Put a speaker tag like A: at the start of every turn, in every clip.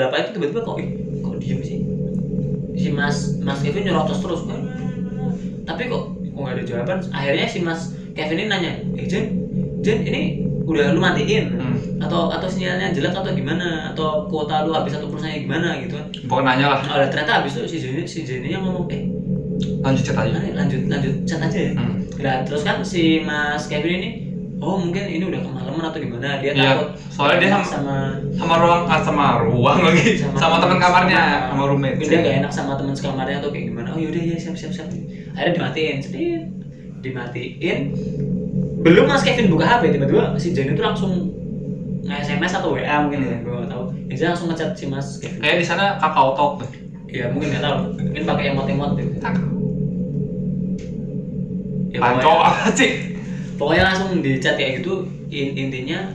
A: berapa itu tiba-tiba kok ih kok diem sih si mas mas Kevin nyerocos terus "Eh, eh, eh, eh." tapi kok kok nggak ada jawaban akhirnya si mas Kevin ini nanya eh Jen Jen ini udah lu matiin
B: Hmm.
A: atau atau sinyalnya jelek atau gimana atau kuota lu habis satu persennya gimana gitu kan
B: Pokoknya nanya lah,
A: oh, lah, ternyata habis itu si Jenny si Jenny yang ngomong eh
B: lanjut chat aja.
A: aneh, lanjut lanjut chat aja ya
B: Hmm.
A: Nah, terus kan si Mas Kevin ini, oh mungkin ini udah kemalaman atau gimana? Dia
B: Iya,
A: takut.
B: soalnya dia
A: enak
B: sama-
A: sama
B: Sama ruang, ah, sama ruang lagi, sama, teman kamarnya, sama roommate.
A: Dia gak enak sama teman sekamarnya atau kayak gimana? Oh yaudah ya siap siap siap. Akhirnya dimatiin, sedih. Dimatiin. Belum Mas Kevin buka HP tiba-tiba si Jenny itu langsung nge-SMS atau WA mungkin ya, gue gak tahu. Ya, Dia langsung ngechat si Mas Kevin.
B: Kayak di sana kakao talk deh.
A: Ya mungkin gak tahu. Mungkin pakai emot-emot gitu. Ya,
B: Panco
A: pokoknya-
B: apa sih?
A: pokoknya langsung di chat kayak gitu in- intinya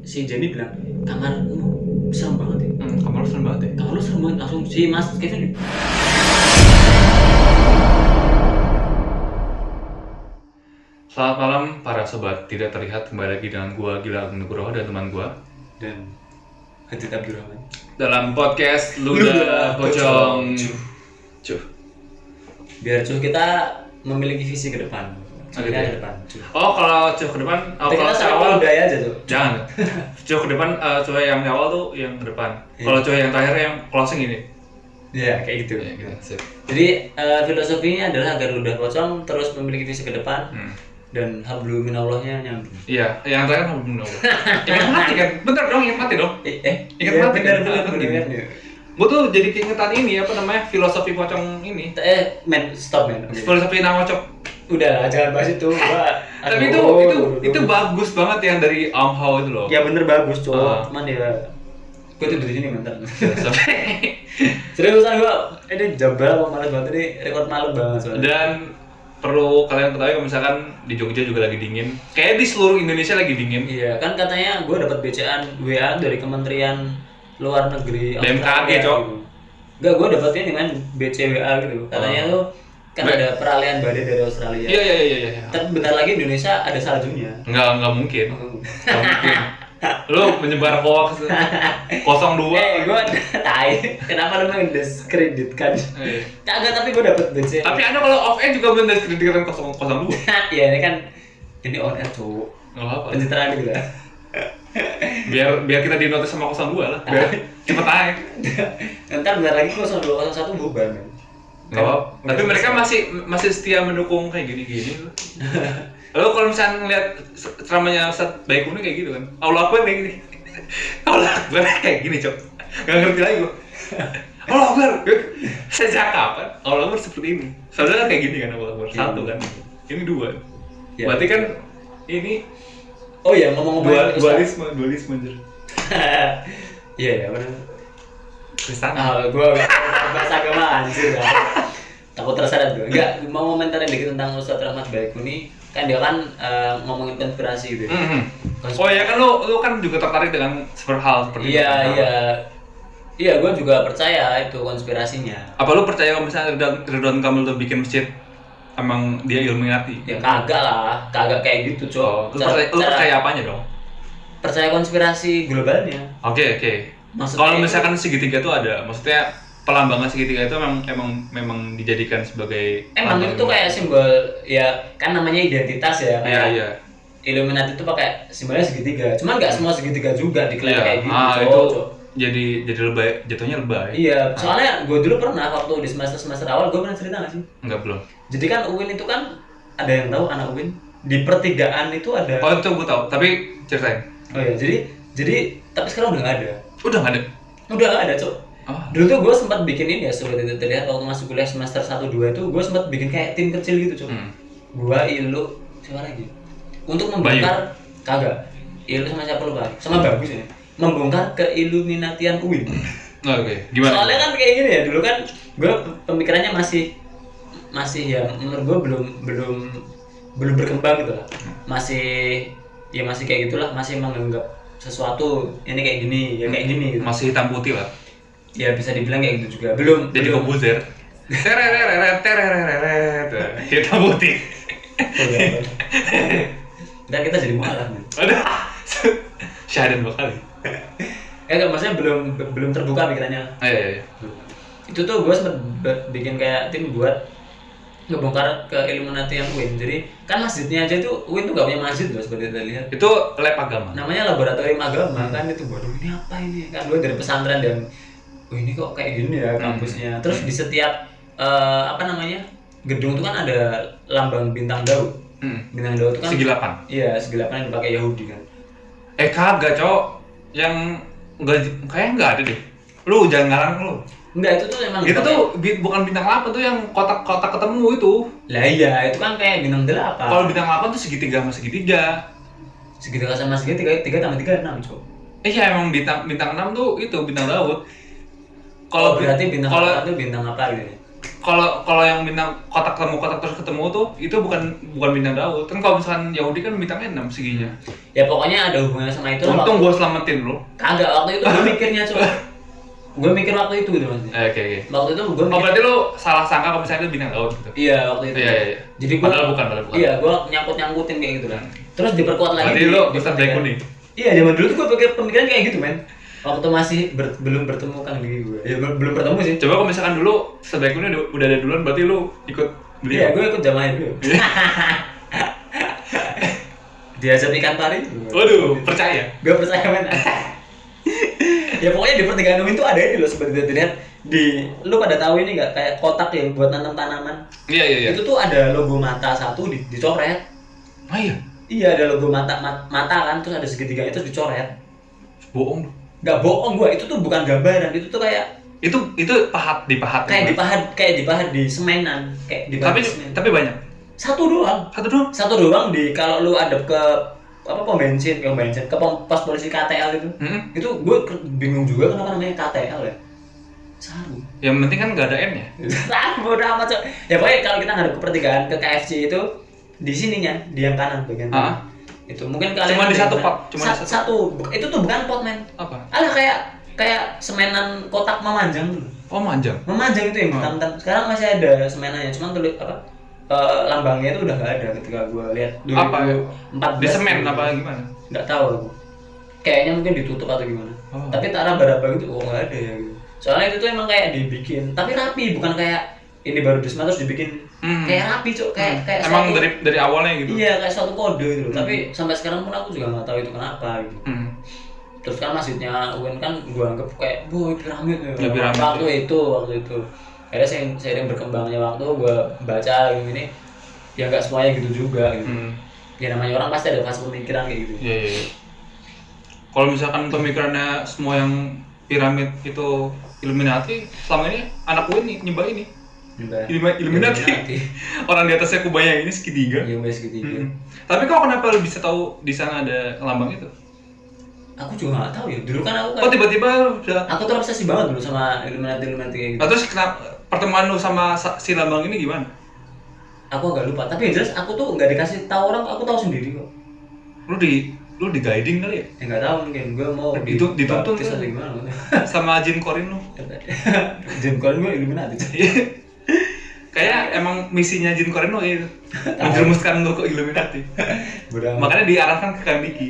A: si Jenny bilang kamarmu serem banget ya
B: Hmm, kamar lu serem banget ya.
A: kamar lu serem banget langsung si Mas Kevin
C: Selamat malam para sobat tidak terlihat kembali lagi dengan gua Gila Agung Nugroho dan teman gua
A: dan Hadid Abdurrahman
C: dalam podcast Luda Pocong. Cuh.
A: biar cuy kita memiliki visi ke depan
C: Oh, gitu
A: Kita
C: ya?
A: ke depan cuy.
C: Oh kalau cuh ke depan, oh,
A: Nanti
C: kalau
A: kita
C: cuh
A: sama
C: awal
A: budaya aja tuh
C: jangan. Cuh ke depan, eh, cuh yang di awal tuh yang ke depan.
A: Iya.
C: Kalau cuh yang terakhir yang closing ini.
A: ya kayak gitu
C: Ya, gitu. Sip.
A: jadi eh, filosofinya adalah agar ludah pocong terus memiliki visi ke depan
C: Hmm.
A: dan hablu minallahnya nyambung
C: Iya, yang terakhir kan belum nunggu. Ingat mati kan? Bentar dong, ingat mati dong.
A: eh, eh
C: Ingat
A: iya,
C: mati
A: bener
C: kan?
A: bener
C: Ah,
A: bener,
C: gini.
A: bener.
C: Gue tuh jadi keingetan ini apa namanya filosofi pocong ini.
A: eh men stop men Oke.
C: Filosofi nangocok.
A: udah jangan bahas itu Pak.
C: Tapi itu
A: Aduh,
C: itu
A: aduh,
C: itu
A: aduh.
C: bagus banget ya, yang dari Om Hao itu loh.
A: ya bener bagus cowok
C: Ah.
A: cuman ya gue tidur di sini bentar
C: Filosofi.
A: seriusan eh, gue ini jabal kok malas banget ini rekor malam banget soalnya
C: Dan perlu kalian ketahui kalau misalkan di Jogja juga lagi dingin. Kayak di seluruh Indonesia lagi dingin.
A: iya kan katanya gue dapat BCAan WA dari Kementerian Luar Negeri
C: BMKG,
A: Australia
C: Cok.
A: gitu. Enggak, gue dapatnya dengan BCWA gitu katanya
C: Ah.
A: tuh kan ada peralihan badai dari Australia
C: Iya iya iya iya. iya.
A: Ntar bentar lagi Indonesia ada saljunya
C: Nggak nggak mungkin. Nggak mungkin. Lu menyebar hoax 02.
A: eh gue tai kenapa lu mendiskreditkan
C: Eh.
A: Kagak tapi gue dapet BC
C: Tapi Anda kalau off air juga mendiskreditkan 002.
A: ya ini kan ini on air cowok
C: Nggak apa-apa.
A: pencitraan gitu lah
C: Biar biar kita dinotis sama 02 lah. Biar cepet aja.
A: ntar bentar lagi kok 0201 bubar men
C: Nggak apa-apa. Tapi mereka masih masih setia mendukung kayak gini-gini. Lalu kalau misalnya ngeliat se- ceramahnya Ustaz Baikuni kayak gitu kan. Allah Akbar kayak gini. Allah Akbar kayak gini, Cok. Nggak ngerti lagi gua. Allah Akbar. Sejak kapan Allah Akbar seperti ini? Soalnya kan kayak gini kan Allah Akbar. Satu kan. Ini dua.
A: Ya.
C: Berarti kan ini
A: oh iya ngomong-ngomong
C: dua,
A: Ustaz.
C: dualisme, dualisme anjir.
A: iya iya bener
C: Kristen.
A: ah gue bahasa agama anjir ya. takut terseret gue enggak mau komentarin dikit tentang Ustaz Rahmat Baikuni kan dia kan eh, ngomongin konspirasi gitu
C: Mhm. Oh ya kan lu lu kan juga tertarik dengan seperti hal seperti
A: iya
C: itu.
A: iya iya gue juga percaya itu konspirasinya
C: Apa lu percaya kalau misalnya Ridwan, Ridwan Kamil tuh bikin masjid emang dia Illuminati?
A: ya kagak lah kagak kayak gitu cok
C: Hmm. Oh, lu, percaya, lu percaya apanya dong?
A: percaya konspirasi globalnya
C: Oke oke.
A: Maksudnya
C: Kalau
A: itu-
C: misalkan segitiga itu ada, maksudnya pelambangan segitiga itu memang emang memang dijadikan sebagai
A: Eh, emang
C: lambang
A: itu tuh kayak simbol ya kan namanya identitas ya
C: Iya
A: kayak
C: iya.
A: Illuminati itu pakai simbolnya segitiga cuman nggak semua segitiga juga diklaim
C: Iya.
A: kayak gitu
C: Ah
A: Cok,
C: itu Ah.
A: Cok.
C: jadi jadi lebay jatuhnya lebay.
A: iya soalnya gue dulu pernah waktu di semester semester awal gue pernah cerita nggak sih
C: Enggak belum.
A: jadi kan Uin itu kan ada yang tahu anak Uin di pertigaan itu ada
C: Oh itu gue tahu, tapi ceritain.
A: oh iya jadi jadi tapi sekarang udah nggak ada
C: Udah nggak ada.
A: udah nggak ada cok
C: Oh.
A: dulu tuh gue sempat bikin ini ya sobat itu terlihat waktu masuk kuliah semester 1 2 itu gue sempat bikin kayak tim kecil gitu cok
C: Hmm.
A: gua ilu siapa lagi untuk membongkar kagak ilu sama siapa lupa sama bagus ya membongkar keiluminatian UIN
C: Oke, gimana?
A: soalnya kan kayak gini ya dulu kan gua pemikirannya masih masih ya menurut gua belum belum belum berkembang gitu lah masih ya masih kayak gitulah masih menganggap sesuatu ini kayak gini ya kayak gini gitu.
C: masih hitam putih lah.
A: ya bisa dibilang kayak gitu juga belum
C: Jadi
A: belum-
C: komposer. Terereret, terereret, hitam putih.
A: Oh, iya, apa. dan kita jadi gitu. mualaf men.
C: Aduh, syahadat dua kali.
A: Eh, eh enggak, maksudnya belum belum terbuka pikirannya
C: Eh, iya, iya.
A: itu tuh gue sempet b- bikin kayak tim buat ngebongkar ke Illuminati yang UIN jadi kan masjidnya aja tuh UIN tuh gak punya masjid loh seperti kita lihat
C: itu lab agama
A: namanya laboratorium agama kan itu waduh ini apa ini kan gue dari pesantren dan oh ini kok kayak gini
C: Hmm.
A: ya kampusnya terus di setiap eh, apa namanya gedung tuh kan ada lambang bintang daud
C: Hmm.
A: bintang daud tuh kan
C: segi delapan
A: iya segelapan yang dipakai Yahudi kan
C: eh kagak cowok yang enggak kayaknya enggak ada deh lu jangan ngarang lu
A: enggak itu tuh emang
C: itu
A: dipakai-
C: tuh bi- bukan bintang 8 tuh yang kotak-kotak ketemu itu
A: lah iya itu kan kayak bintang delapan
C: kalau bintang 8 tuh segitiga sama segitiga
A: segitiga sama segitiga tiga tambah tiga enam cok
C: eh ya emang bintang bintang 6 tuh itu bintang Daud
A: kalau
C: kalau
A: Oh, berarti bintang
C: kalau
A: apa tuh bintang apa gitu ya?
C: kalau kalau yang bintang kotak ketemu kotak terus ketemu tuh itu bukan bukan bintang Daud kan kalau misalkan Yahudi kan bintangnya 6 seginya
A: ya pokoknya ada hubungannya sama itu
C: untung gua selamatin lu
A: kagak waktu itu gue mikirnya cok gue mikir waktu itu gitu maksudnya
C: eh, oke oke
A: waktu itu gue
C: oh berarti lu salah sangka kalau misalkan itu bintang Daud gitu
A: iya waktu itu
C: iya iya iya.
A: jadi gue
C: padahal bukan padahal bukan
A: iya gue nyangkut nyangkutin kayak gitu kan terus diperkuat lagi
C: berarti
A: di-
C: lu
A: di
C: besar
A: pikiran.
C: black kuning
A: iya zaman dulu tuh gue pikir pemikiran kayak gitu men waktu masih ber- belum bertemu kan diri gue ya bel- belum bertemu sih
C: coba kalau misalkan dulu sebaik udah udah ada duluan berarti lu ikut beli
A: iya gue ikut zaman itu
C: Iya.
A: diajak ikan pari
C: Waduh, percaya.
A: Gak percaya men ya pokoknya di pertigaan UIN tuh ada ini loh seperti itu dilihat di lu pada tahu ini nggak kayak kotak yang buat nanam tanaman
C: Iya iya iya.
A: itu tuh ada logo mata satu di- dicoret
C: Ah iya,
A: iya ada logo mata ma- mata kan terus ada segitiga itu dicoret
C: bohong.
A: nggak bohong gua itu tuh bukan gambaran itu tuh kayak
C: Itu itu pahat iya. dipahat.
A: kayak dipahat kayak dipahat di semenan kayak dipahat
C: Tapi
A: di semen.
C: tapi banyak.
A: satu doang
C: Satu doang.
A: satu doang di kalau lu ada ke apa pom bensin ke pom bensin ke pom, pos polisi KTL itu
C: Mm-mm.
A: itu gue bingung juga kenapa namanya KTL ya saru
C: Yang penting kan nggak ada N ya.
A: saru bodoh amat Cok. ya pokoknya kalau kita ngadep ke pertigaan ke KFC itu di sininya di yang kanan bagian
C: Ah.
A: kanan. itu mungkin kalian
C: Cuma di satu pot,
A: pot
C: cuma di
A: satu. Bu- itu tuh bukan pot men
C: Apa?
A: alah kayak kayak semenan kotak memanjang tuh.
C: Oh manjang.
A: memanjang itu yang
C: Hmm.
A: hitam hitam sekarang masih ada semenannya cuman tulis apa eh, lambangnya itu udah gak ada ketika gue lihat
C: Apa?
A: empat
C: Di semen apa gimana?
A: nggak tahu aku kayaknya mungkin ditutup atau gimana
C: Oh.
A: tapi tak raba-raba gitu oh nggak ada ya gitu soalnya itu tuh emang kayak dibikin tapi rapi bukan kayak ini baru disma terus dibikin
C: Hmm.
A: kayak rapi cok kayak kayak
C: Emang
A: suatu-
C: dari dari awalnya gitu.
A: iya kayak suatu kode gitu
C: Hmm.
A: tapi sampai sekarang pun aku juga nggak tahu itu kenapa gitu
C: Hmm.
A: terus kan masjidnya UN kan gua anggap kayak boy piramid
C: Ya, piramid,
A: waktu itu waktu itu akhirnya seiring, seiring berkembangnya waktu gua baca yang ini ya nggak semuanya gitu juga gitu
C: Hmm.
A: ya namanya orang pasti ada fase pemikiran kayak gitu
C: Iya iya. iya. Kalau misalkan pemikirannya semua yang piramid itu Illuminati, selama ini anak gue nih nyembah ini
A: Mbak.
C: Illumi- Illuminati.
A: Illuminati.
C: Orang di atasnya kubaya ini segitiga.
A: Iya wes segitiga.
C: Mm-mm. Tapi kok kenapa lu bisa tahu di sana ada lambang itu?
A: Aku juga nggak tahu ya. Dulu kan aku
C: Oh
A: kan
C: tiba-tiba lu bisa.
A: aku tuh obsesi banget dulu sama Illuminati Illuminati kayak gitu.
C: Nah, terus kenapa pertemuan lu sama sa- si lambang ini gimana?
A: Aku agak lupa. Tapi yang jelas aku tuh nggak dikasih tahu orang. Aku tahu sendiri kok.
C: Lu di lu di guiding kali ya?
A: Ya nggak tahu mungkin gue mau
C: Itu- dituntun
A: dibaptis
C: kan?
A: atau gimana.
C: Sama Jin Korin lu.
A: Jim Colin gue Illuminati.
C: Kayak emang misinya Jin Korin lu kayak gitu. Menjerumuskan lu ke Illuminati.
A: Bodoh. amat.
C: Makanya diarahkan ke Kang Diki.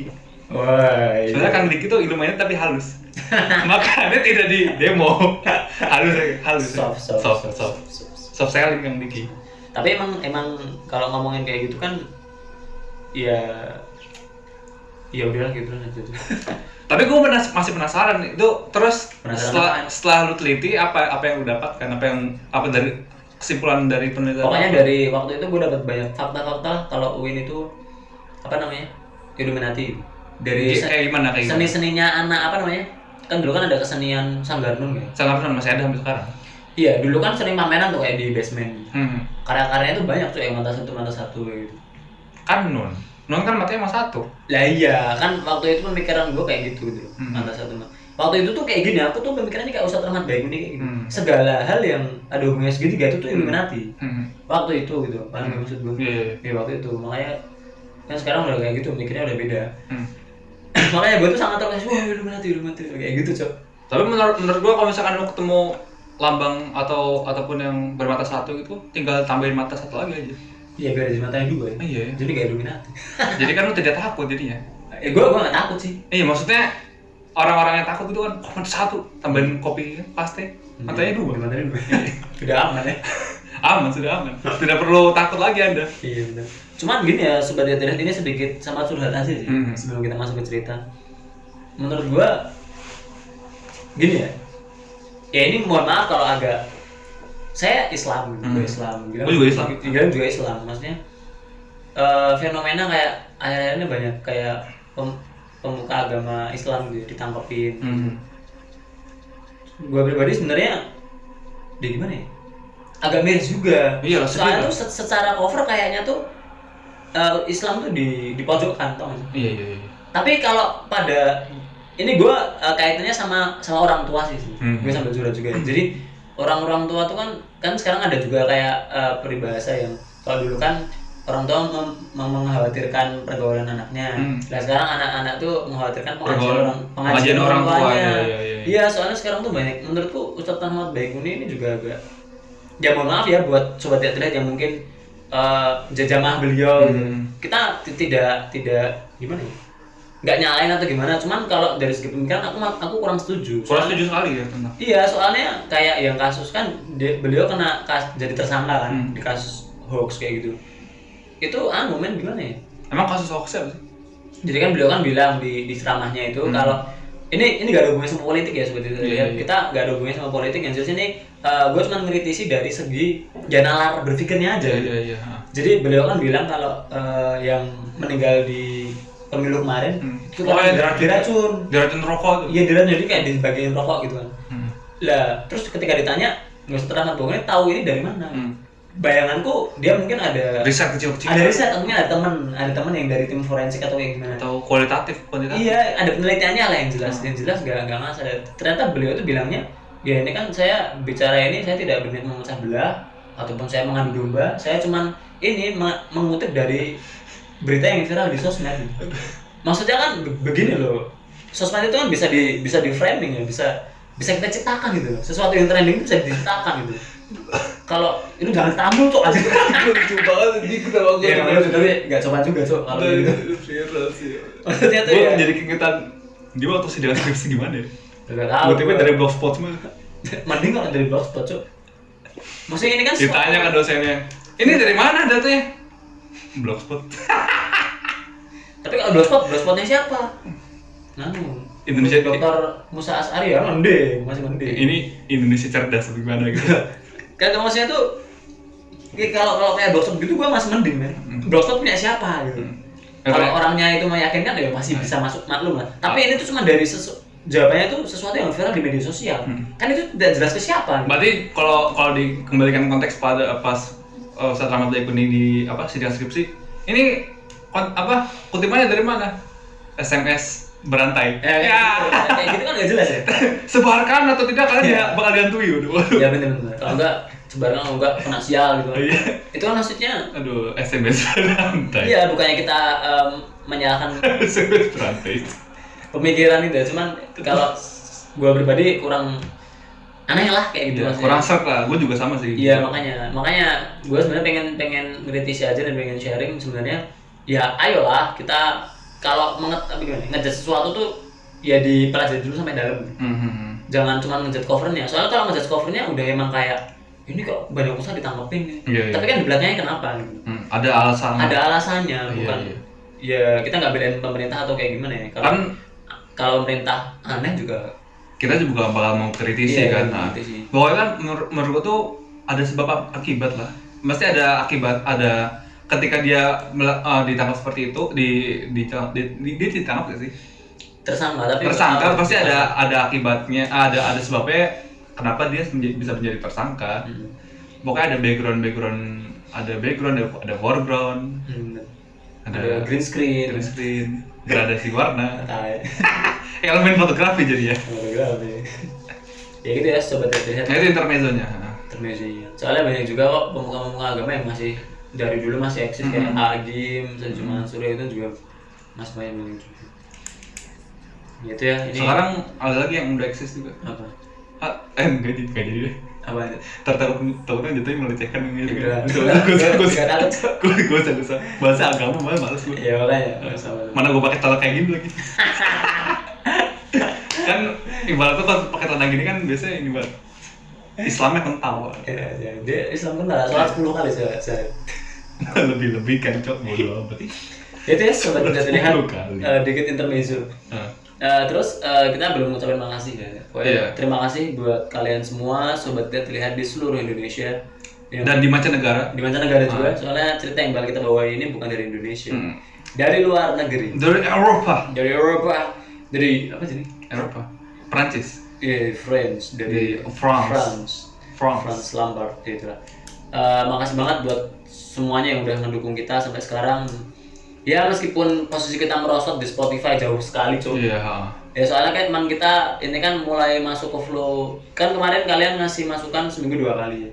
A: Wah. iya.
C: Sebenarnya Kang Diki tuh Illuminati tapi halus. Makanya tidak di demo. halus aja, halus. aja.
A: Soft soft
C: soft. soft.
A: soft.
C: Soft selling Kang Diki.
A: tapi emang emang kalau ngomongin kayak gitu kan ya ya udahlah gitu lah gitu.
C: Tapi gue penas masih penasaran itu terus
A: Penasaran
C: setelah
A: apaan?
C: setelah lu teliti apa apa yang lu dapatkan apa yang apa dari kesimpulan dari penelitian
A: Pokoknya dari waktu itu gue dapat banyak fakta-fakta kalau Uin itu apa namanya Illuminati dari
C: Kayak- kayak gimana kayak
A: seni seninya anak apa namanya kan dulu kan ada kesenian Sanggarnung ya
C: gimana? Sangat penasaran, masih ada sampai sekarang.
A: iya dulu kan sering pameran tuh kayak di basement
C: Hmm.
A: karya-karyanya tuh banyak tuh yang mata satu mata satu kayak gitu
C: Kan non. Non kan matanya mas satu.
A: lah iya kan waktu itu pemikiran gue kayak gitu gitu
C: Hmm.
A: mata satu mata waktu itu tuh kayak gini aku tuh pemikirannya kayak Ustadz Rahmat Baik kayak gini
C: Hmm.
A: segala hal yang ada hubungannya segitiga itu tuh Illuminati
C: Hmm.
A: waktu itu gitu paham nggak maksud gue
C: Iya, iya, iya.
A: ya waktu itu makanya kan sekarang udah kayak gitu mikirnya udah beda
C: Hmm.
A: makanya gue tuh sangat terkesan wah Illuminati Illuminati kayak gitu cok
C: Tapi menurut menurut gua kalau misalkan lu ketemu lambang atau ataupun yang bermata satu gitu tinggal tambahin mata satu lagi aja.
A: iya biar ada matanya dua ya
C: Ah, iya.
A: jadi kayak Illuminati
C: Jadi kan lu tidak takut jadinya.
A: ya gue gue nggak takut sih
C: Iya, maksudnya orang-orang yang takut itu kan cuma satu tambahin kopi pasti matanya dua
A: Matanya dua. Udah aman ya.
C: aman sudah aman tidak perlu takut lagi anda
A: Iya benar. Cuman gini ya sobat internet ini sedikit sama curhat aja sih
C: Hmm.
A: sebelum kita masuk ke cerita. Menurut gua gini ya. Ya ini mohon maaf kalau agak saya Islam, gua
C: Hmm.
A: Islam.
C: Gua juga Islam.
A: Gila juga Islam. Maksudnya eh, fenomena kayak akhir-akhir ini banyak kayak pem- pemuka agama Islam gitu ditangkepin.
C: Hmm.
A: Gua pribadi sebenarnya dia gimana ya? Agak miris juga.
C: Iya, lah, sedih
A: Soalnya
C: lah.
A: tuh se- secara cover kayaknya tuh eh, Islam tuh di di pojokkan tau nggak sih?
C: iya iya iya
A: Tapi kalau pada ini gua eh, kaitannya sama sama orang tua sih. sih.
C: Hmm.
A: Gue sambil curhat juga. ya. Jadi orang-orang tua tuh kan kan sekarang ada juga kayak eh, peribahasa yang kalau dulu kan orang tua mem- mem- mengkhawatirkan pergaulan anaknya.
C: Hmm.
A: Nah sekarang anak-anak tuh mengkhawatirkan pengajian
C: Pergaulan-
A: orang
C: pengajian orang tua,
A: tuanya.
C: iya, iya, iya.
A: Iya, soalnya sekarang tuh banyak menurutku Ustadz Ahmad Baikuni ini juga agak ya mohon maaf ya buat sobat atlet yang mungkin eh, jajamah beliau gitu.
C: Hmm.
A: kita t- tidak tidak gimana ya nggak nyalain atau gimana cuman kalau dari segi pemikiran aku ma- aku kurang setuju Soalnya-
C: kurang setuju sekali ya tentang
A: iya soalnya kayak yang kasus kan dia- beliau kena kas- jadi tersangka kan
C: Hmm.
A: di kasus hoax kayak gitu itu anu men gimana ya
C: emang kasus hoax apa sih
A: jadi kan beliau kan bilang di di ceramahnya itu
C: Hmm.
A: kalau ini ini gak ada hubungannya sama politik ya seperti itu
C: Iya,
A: ya.
C: iya, iya.
A: kita gak ada hubungannya sama politik yang jelas ini eh, gue cuma mengkritisi dari segi ya nalar berpikirnya aja
C: iya iya iya ha.
A: jadi beliau kan bilang kalau eh, yang meninggal di pemilu kemarin
C: Hmm.
A: itu
C: Oh,
A: kan
C: yang
A: diracun. diracun
C: Diracun rokok tuh
A: iya diracun jadi kayak dibagiin rokok gitu kan
C: Hmm.
A: lah terus ketika ditanya nggak usah terlambat bohongnya tahu ini dari mana
C: Hmm.
A: bayanganku dia mungkin ada
C: riset kecil-kecil
A: ada riset mungkin ada teman ada teman yang dari tim forensik atau yang gimana
C: atau kualitatif kuantitatif
A: Iya, ada penelitiannya lah yang jelas, yang jelas gak nggak ngasal. Ternyata beliau itu bilangnya, ya ini kan saya bicara ini saya tidak berniat memecah belah ataupun saya mengadu domba, saya cuman ini me- mengutip dari berita yang viral di sosmed. Maksudnya kan be- begini loh, sosmed itu kan bisa di bisa di framing ya, bisa bisa kita ciptakan gitu loh. Sesuatu yang trending itu bisa diciptakan gitu. Kalau itu jangan tamu tuh aja.
C: lucu banget jadi kita bangun
A: Ya, namanya
C: iya,
A: tapi nggak coba juga cok kalau gitu.
C: viral sih
A: Maksudnya tuh
C: gue
A: ya.
C: jadi keingetan dia waktu sidang skripsi gimana ya
A: Nggak tahu.
C: tiba dari blogspot mah
A: mending kalau dari blogspot cok maksudnya ini kan suatu-
C: ditanya ke dosennya ini dari mana datanya blogspot
A: tapi kalau blogspot blogspotnya siapa Nanu
C: Indonesia-
A: dokter Musa Asari ya mending masih mending
C: ini Indonesia cerdas atau gimana gitu
A: kan maksudnya tuh kayak kalau kalau kayak blogspot gitu gua masih mending men blogspot punya siapa gitu
C: Hmm.
A: kalau
C: Karena-
A: orangnya itu meyakinkan ya masih bisa masuk maklum lah
C: Ah.
A: tapi ini tuh cuma dari sesu jawabannya tuh sesuatu yang viral di media sosial
C: Hmm.
A: kan itu tidak jelas ke siapa gitu.
C: berarti kalau kalau dikembalikan konteks pada pas uh, Ustaz Rahmat Daikuni di apa sidang skripsi ini kon- apa kutipannya dari mana SMS berantai
A: ya, kayak gitu. kayak gitu kan nggak jelas ya
C: sebarkan atau tidak kalian
A: Ya.
C: dia bakal dihantui waduh waduh.
A: ya bener bener kalau enggak sebarang kalau enggak kena sial gitu
C: Iya.
A: itu kan maksudnya
C: aduh SMS berantai
A: iya bukannya kita em, menyalahkan
C: SMS berantai
A: pemikiran itu ya. cuman kalau gua pribadi kurang aneh lah kayak gitu
C: Ya,
A: maksudnya.
C: kurang serk lah gue juga sama sih
A: iya makanya makanya gua sebenarnya pengen pengen kritisi aja dan pengen sharing sebenarnya ya ayolah kita kalau menget apa gimana ngejat sesuatu tuh ya dipelajari dulu sampai dalam
C: Mhm.
A: jangan cuma ngejat covernya soalnya kalau ngejat covernya udah emang kayak ini kok banyak usaha ditangkepin nih
C: Iya, iya.
A: tapi kan di belakangnya kenapa gitu.
C: Hmm, ada alasan
A: ada alasannya
C: Iya,
A: bukan
C: iya.
A: ya kita nggak bedain pemerintah atau kayak gimana ya kalau
C: kan
A: kalau pemerintah aneh juga
C: kita juga bakal mau
A: Iya,
C: kritisi kan
A: iya,
C: nah,
A: kritisi.
C: pokoknya kan menur- menurut gua tuh ada sebab ap- akibat lah mesti ada akibat ada ketika dia mela- eh, ditangkap seperti itu di di, di, di- dia ditangkap gak sih
A: tersangka tapi
C: tersangka pasti ada ada akibatnya ada ada sebabnya kenapa dia menja- bisa menjadi tersangka
A: Hmm,
C: pokoknya ada background background ada background ada, ada foreground
A: hmm,
C: ada,
A: ada green screen
C: green screen gradasi warna
A: Tai.
C: elemen fotografi jadi ya
A: Fotografi. ya gitu ya sobat terlihat
C: nah itu intermezzonya
A: termejanya iya. soalnya banyak juga kok pemuka-pemuka agama yang masih dari dulu masih eksis kayak Agim, Sajum Mansur itu juga masih banyak banyak juga gitu ya ini
C: sekarang ada lagi yang udah eksis juga
A: apa
C: Ah, eh enggak jadi enggak jadi deh.
A: apa itu
C: Ntar takut takutnya jatuhnya melecehkan ini gitu
A: Enggak.
C: kan. Gue gue gue
A: Enggak takut.
C: gue gue usah gue usah. bahasa agama Iya. malah males gue.
A: ya makanya sama
C: Mana gue pakai tolak kayak gini lagi. ibaratnya Kan kalau pakai celana gini kan biasanya ini banget Islamnya kental
A: Iya, iya. Dia Islam kenal, sholat 10 kali se- sehari.
C: lebih-lebih kan cok bodo amat
A: Itu ya sobat kita terlihat
C: 10 kali.
A: eh, dikit intermezzo.
C: Nah,
A: Eh, terus eh, kita belum mengucapkan makasih ya. Pokoknya
C: Iya.
A: Terima kasih buat kalian semua sobat kita terlihat di seluruh Indonesia. Yang-
C: dan di mancanegara
A: di mancanegara juga. Soalnya cerita yang bakal kita bawa ini bukan dari Indonesia.
C: Hmm.
A: Dari luar negeri.
C: dari Eropa
A: Dari Eropa. Dari apa sih? ini?
C: Eropa Prancis
A: Eh, France. Dari
C: Dari
A: Iya,
C: France.
A: France.
C: France
A: Franz Lampard ya itulah. Eh, makasih banget buat semuanya yang udah mendukung kita sampai sekarang. Ya meskipun posisi kita merosot di Spotify jauh sekali cuy.
C: iya ha.
A: Ya soalnya kan emang kita ini kan mulai masuk ke flow. Kan kemarin kalian ngasih masukan seminggu dua kali. ya.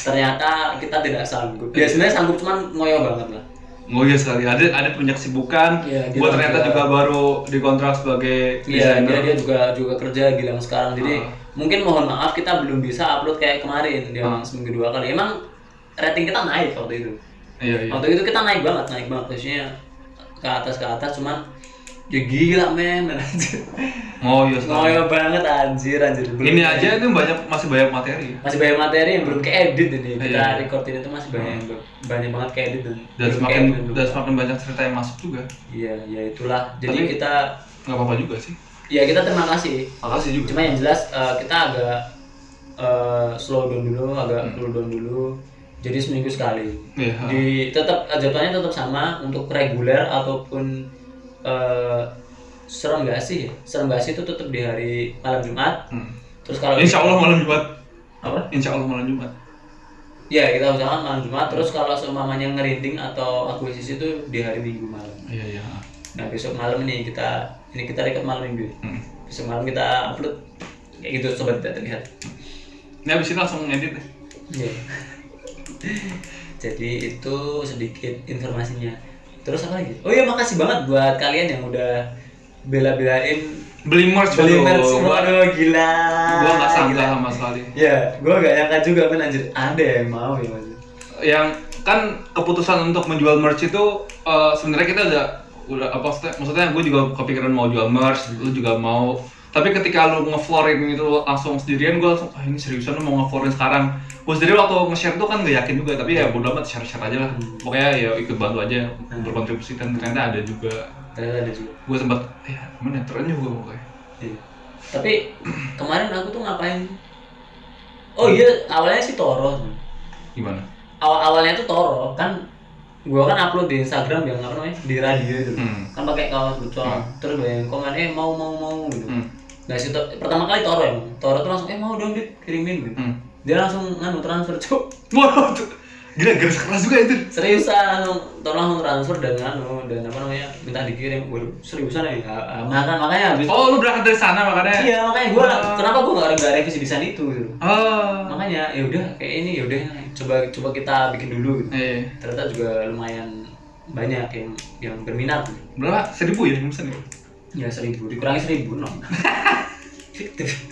A: Ternyata kita tidak sanggup. Ya sebenarnya sanggup cuman ngoyo banget lah.
C: ngoyo sekali ada ada punya kesibukan
A: Iya, dia
C: gua ternyata
A: juga-
C: juga baru dikontrak sebagai
A: Iya, dia, dia
C: desainer
A: juga juga kerja Gilang sekarang. Jadi
C: Ah.
A: mungkin mohon maaf kita belum bisa upload kayak kemarin dia
C: Ah.
A: seminggu dua kali. Emang rating kita naik waktu itu.
C: iya iya
A: Waktu itu kita naik banget, naik banget posisinya ke atas ke atas cuman ya gila men anjir.
C: ngoyo sekali
A: Ngoyo banget anjir anjir. Belum-
C: iya, Nah. ini aja itu banyak masih banyak materi
A: masih banyak materi yang belum keedit ini. Kita
C: Iya. Ah.
A: record ini tuh masih banyak yang belum- banyak banget keedit dan
C: dan
A: belum
C: semakin
A: keedit, belum.
C: dan semakin banyak cerita yang masuk juga
A: Iya, ya itulah. Jadi
C: Tapi-
A: kita
C: nggak apa-apa juga sih
A: ya kita terima kasih
C: makasih juga
A: cuma yang jelas eh, kita agak eh, slow down dulu agak
C: Hmm.
A: cool down dulu jadi seminggu sekali
C: Iya.
A: di tetap eh, jadwalnya tetap sama untuk reguler ataupun eh, serem gak sih serem gak sih itu tetap di hari malam jumat
C: Hmm.
A: terus kalau
C: insya Allah malam Jumat
A: apa
C: insya Allah malam Jumat
A: ya kita usahakan malam jumat terus kalau seumpamanya ngerinding atau akuisisi itu di hari minggu malam
C: iya iya
A: nah besok malam ini kita ini kita record malam minggu ya.
C: Hmm.
A: besok malam kita upload kayak gitu sobat tidak terlihat
C: ini abis ini langsung ngedit deh
A: Iya. Jadi itu sedikit informasinya. Terus apa lagi? Oh iya makasih banget buat kalian yang udah bela-belain
C: beli merch
A: beli
C: waduh.
A: merch semua.
C: gua
A: Aduh, gila.
C: gua nggak sangka
A: Ah, Gila.
C: sama sekali
A: Ya, gua gak nyangka juga kan anjir ada yang mau ya anjir.
C: yang kan keputusan untuk menjual merch itu eh, sebenarnya kita udah udah apa maksudnya, maksudnya gue juga kepikiran mau jual merch lu juga mau tapi ketika lu ngeflorin itu langsung sendirian gue langsung ah ini seriusan lu mau ngeflorin sekarang gue sendiri waktu nge-share tuh kan gak yakin juga tapi ya bodo amat share-share aja lah pokoknya ya ikut bantu aja berkontribusi dan ternyata ada juga
A: Ternyata ada juga.
C: gue sempat ya mana ya, tren juga pokoknya
A: Iya. Tapi kemarin aku tuh ngapain? Oh iya, awalnya sih Toro.
C: gimana
A: Awal-awalnya tuh Toro kan gua kan upload di Instagram yang apa namanya? Di radio itu.
C: hmm.
A: kan pakai kaos bucong
C: Hmm.
A: terus banyak yang komen eh mau mau mau gitu
C: Hmm.
A: nah situ pertama kali toro emang toro tuh langsung eh mau dong Dit, kirimin gitu
C: Hmm.
A: dia langsung nganu transfer cuk
C: Waduh, tuh. gila garis keras juga itu
A: seriusan langsung toro langsung transfer dan nganu dan apa namanya minta dikirim waduh seriusan ya Ah, makan makanya habis
C: oh lu berangkat dari sana makanya
A: iya makanya gua
C: Ah.
A: kenapa gua nggak nggak revisi desain itu gitu
C: Oh.
A: makanya ya udah kayak ini ya udah coba coba kita bikin dulu gitu
C: Iya.
A: ternyata juga lumayan banyak yang yang berminat gitu.
C: Berapa? Seribu ya yang pesan ya?
A: Ya seribu, dikurangi seribu no. Fiktif.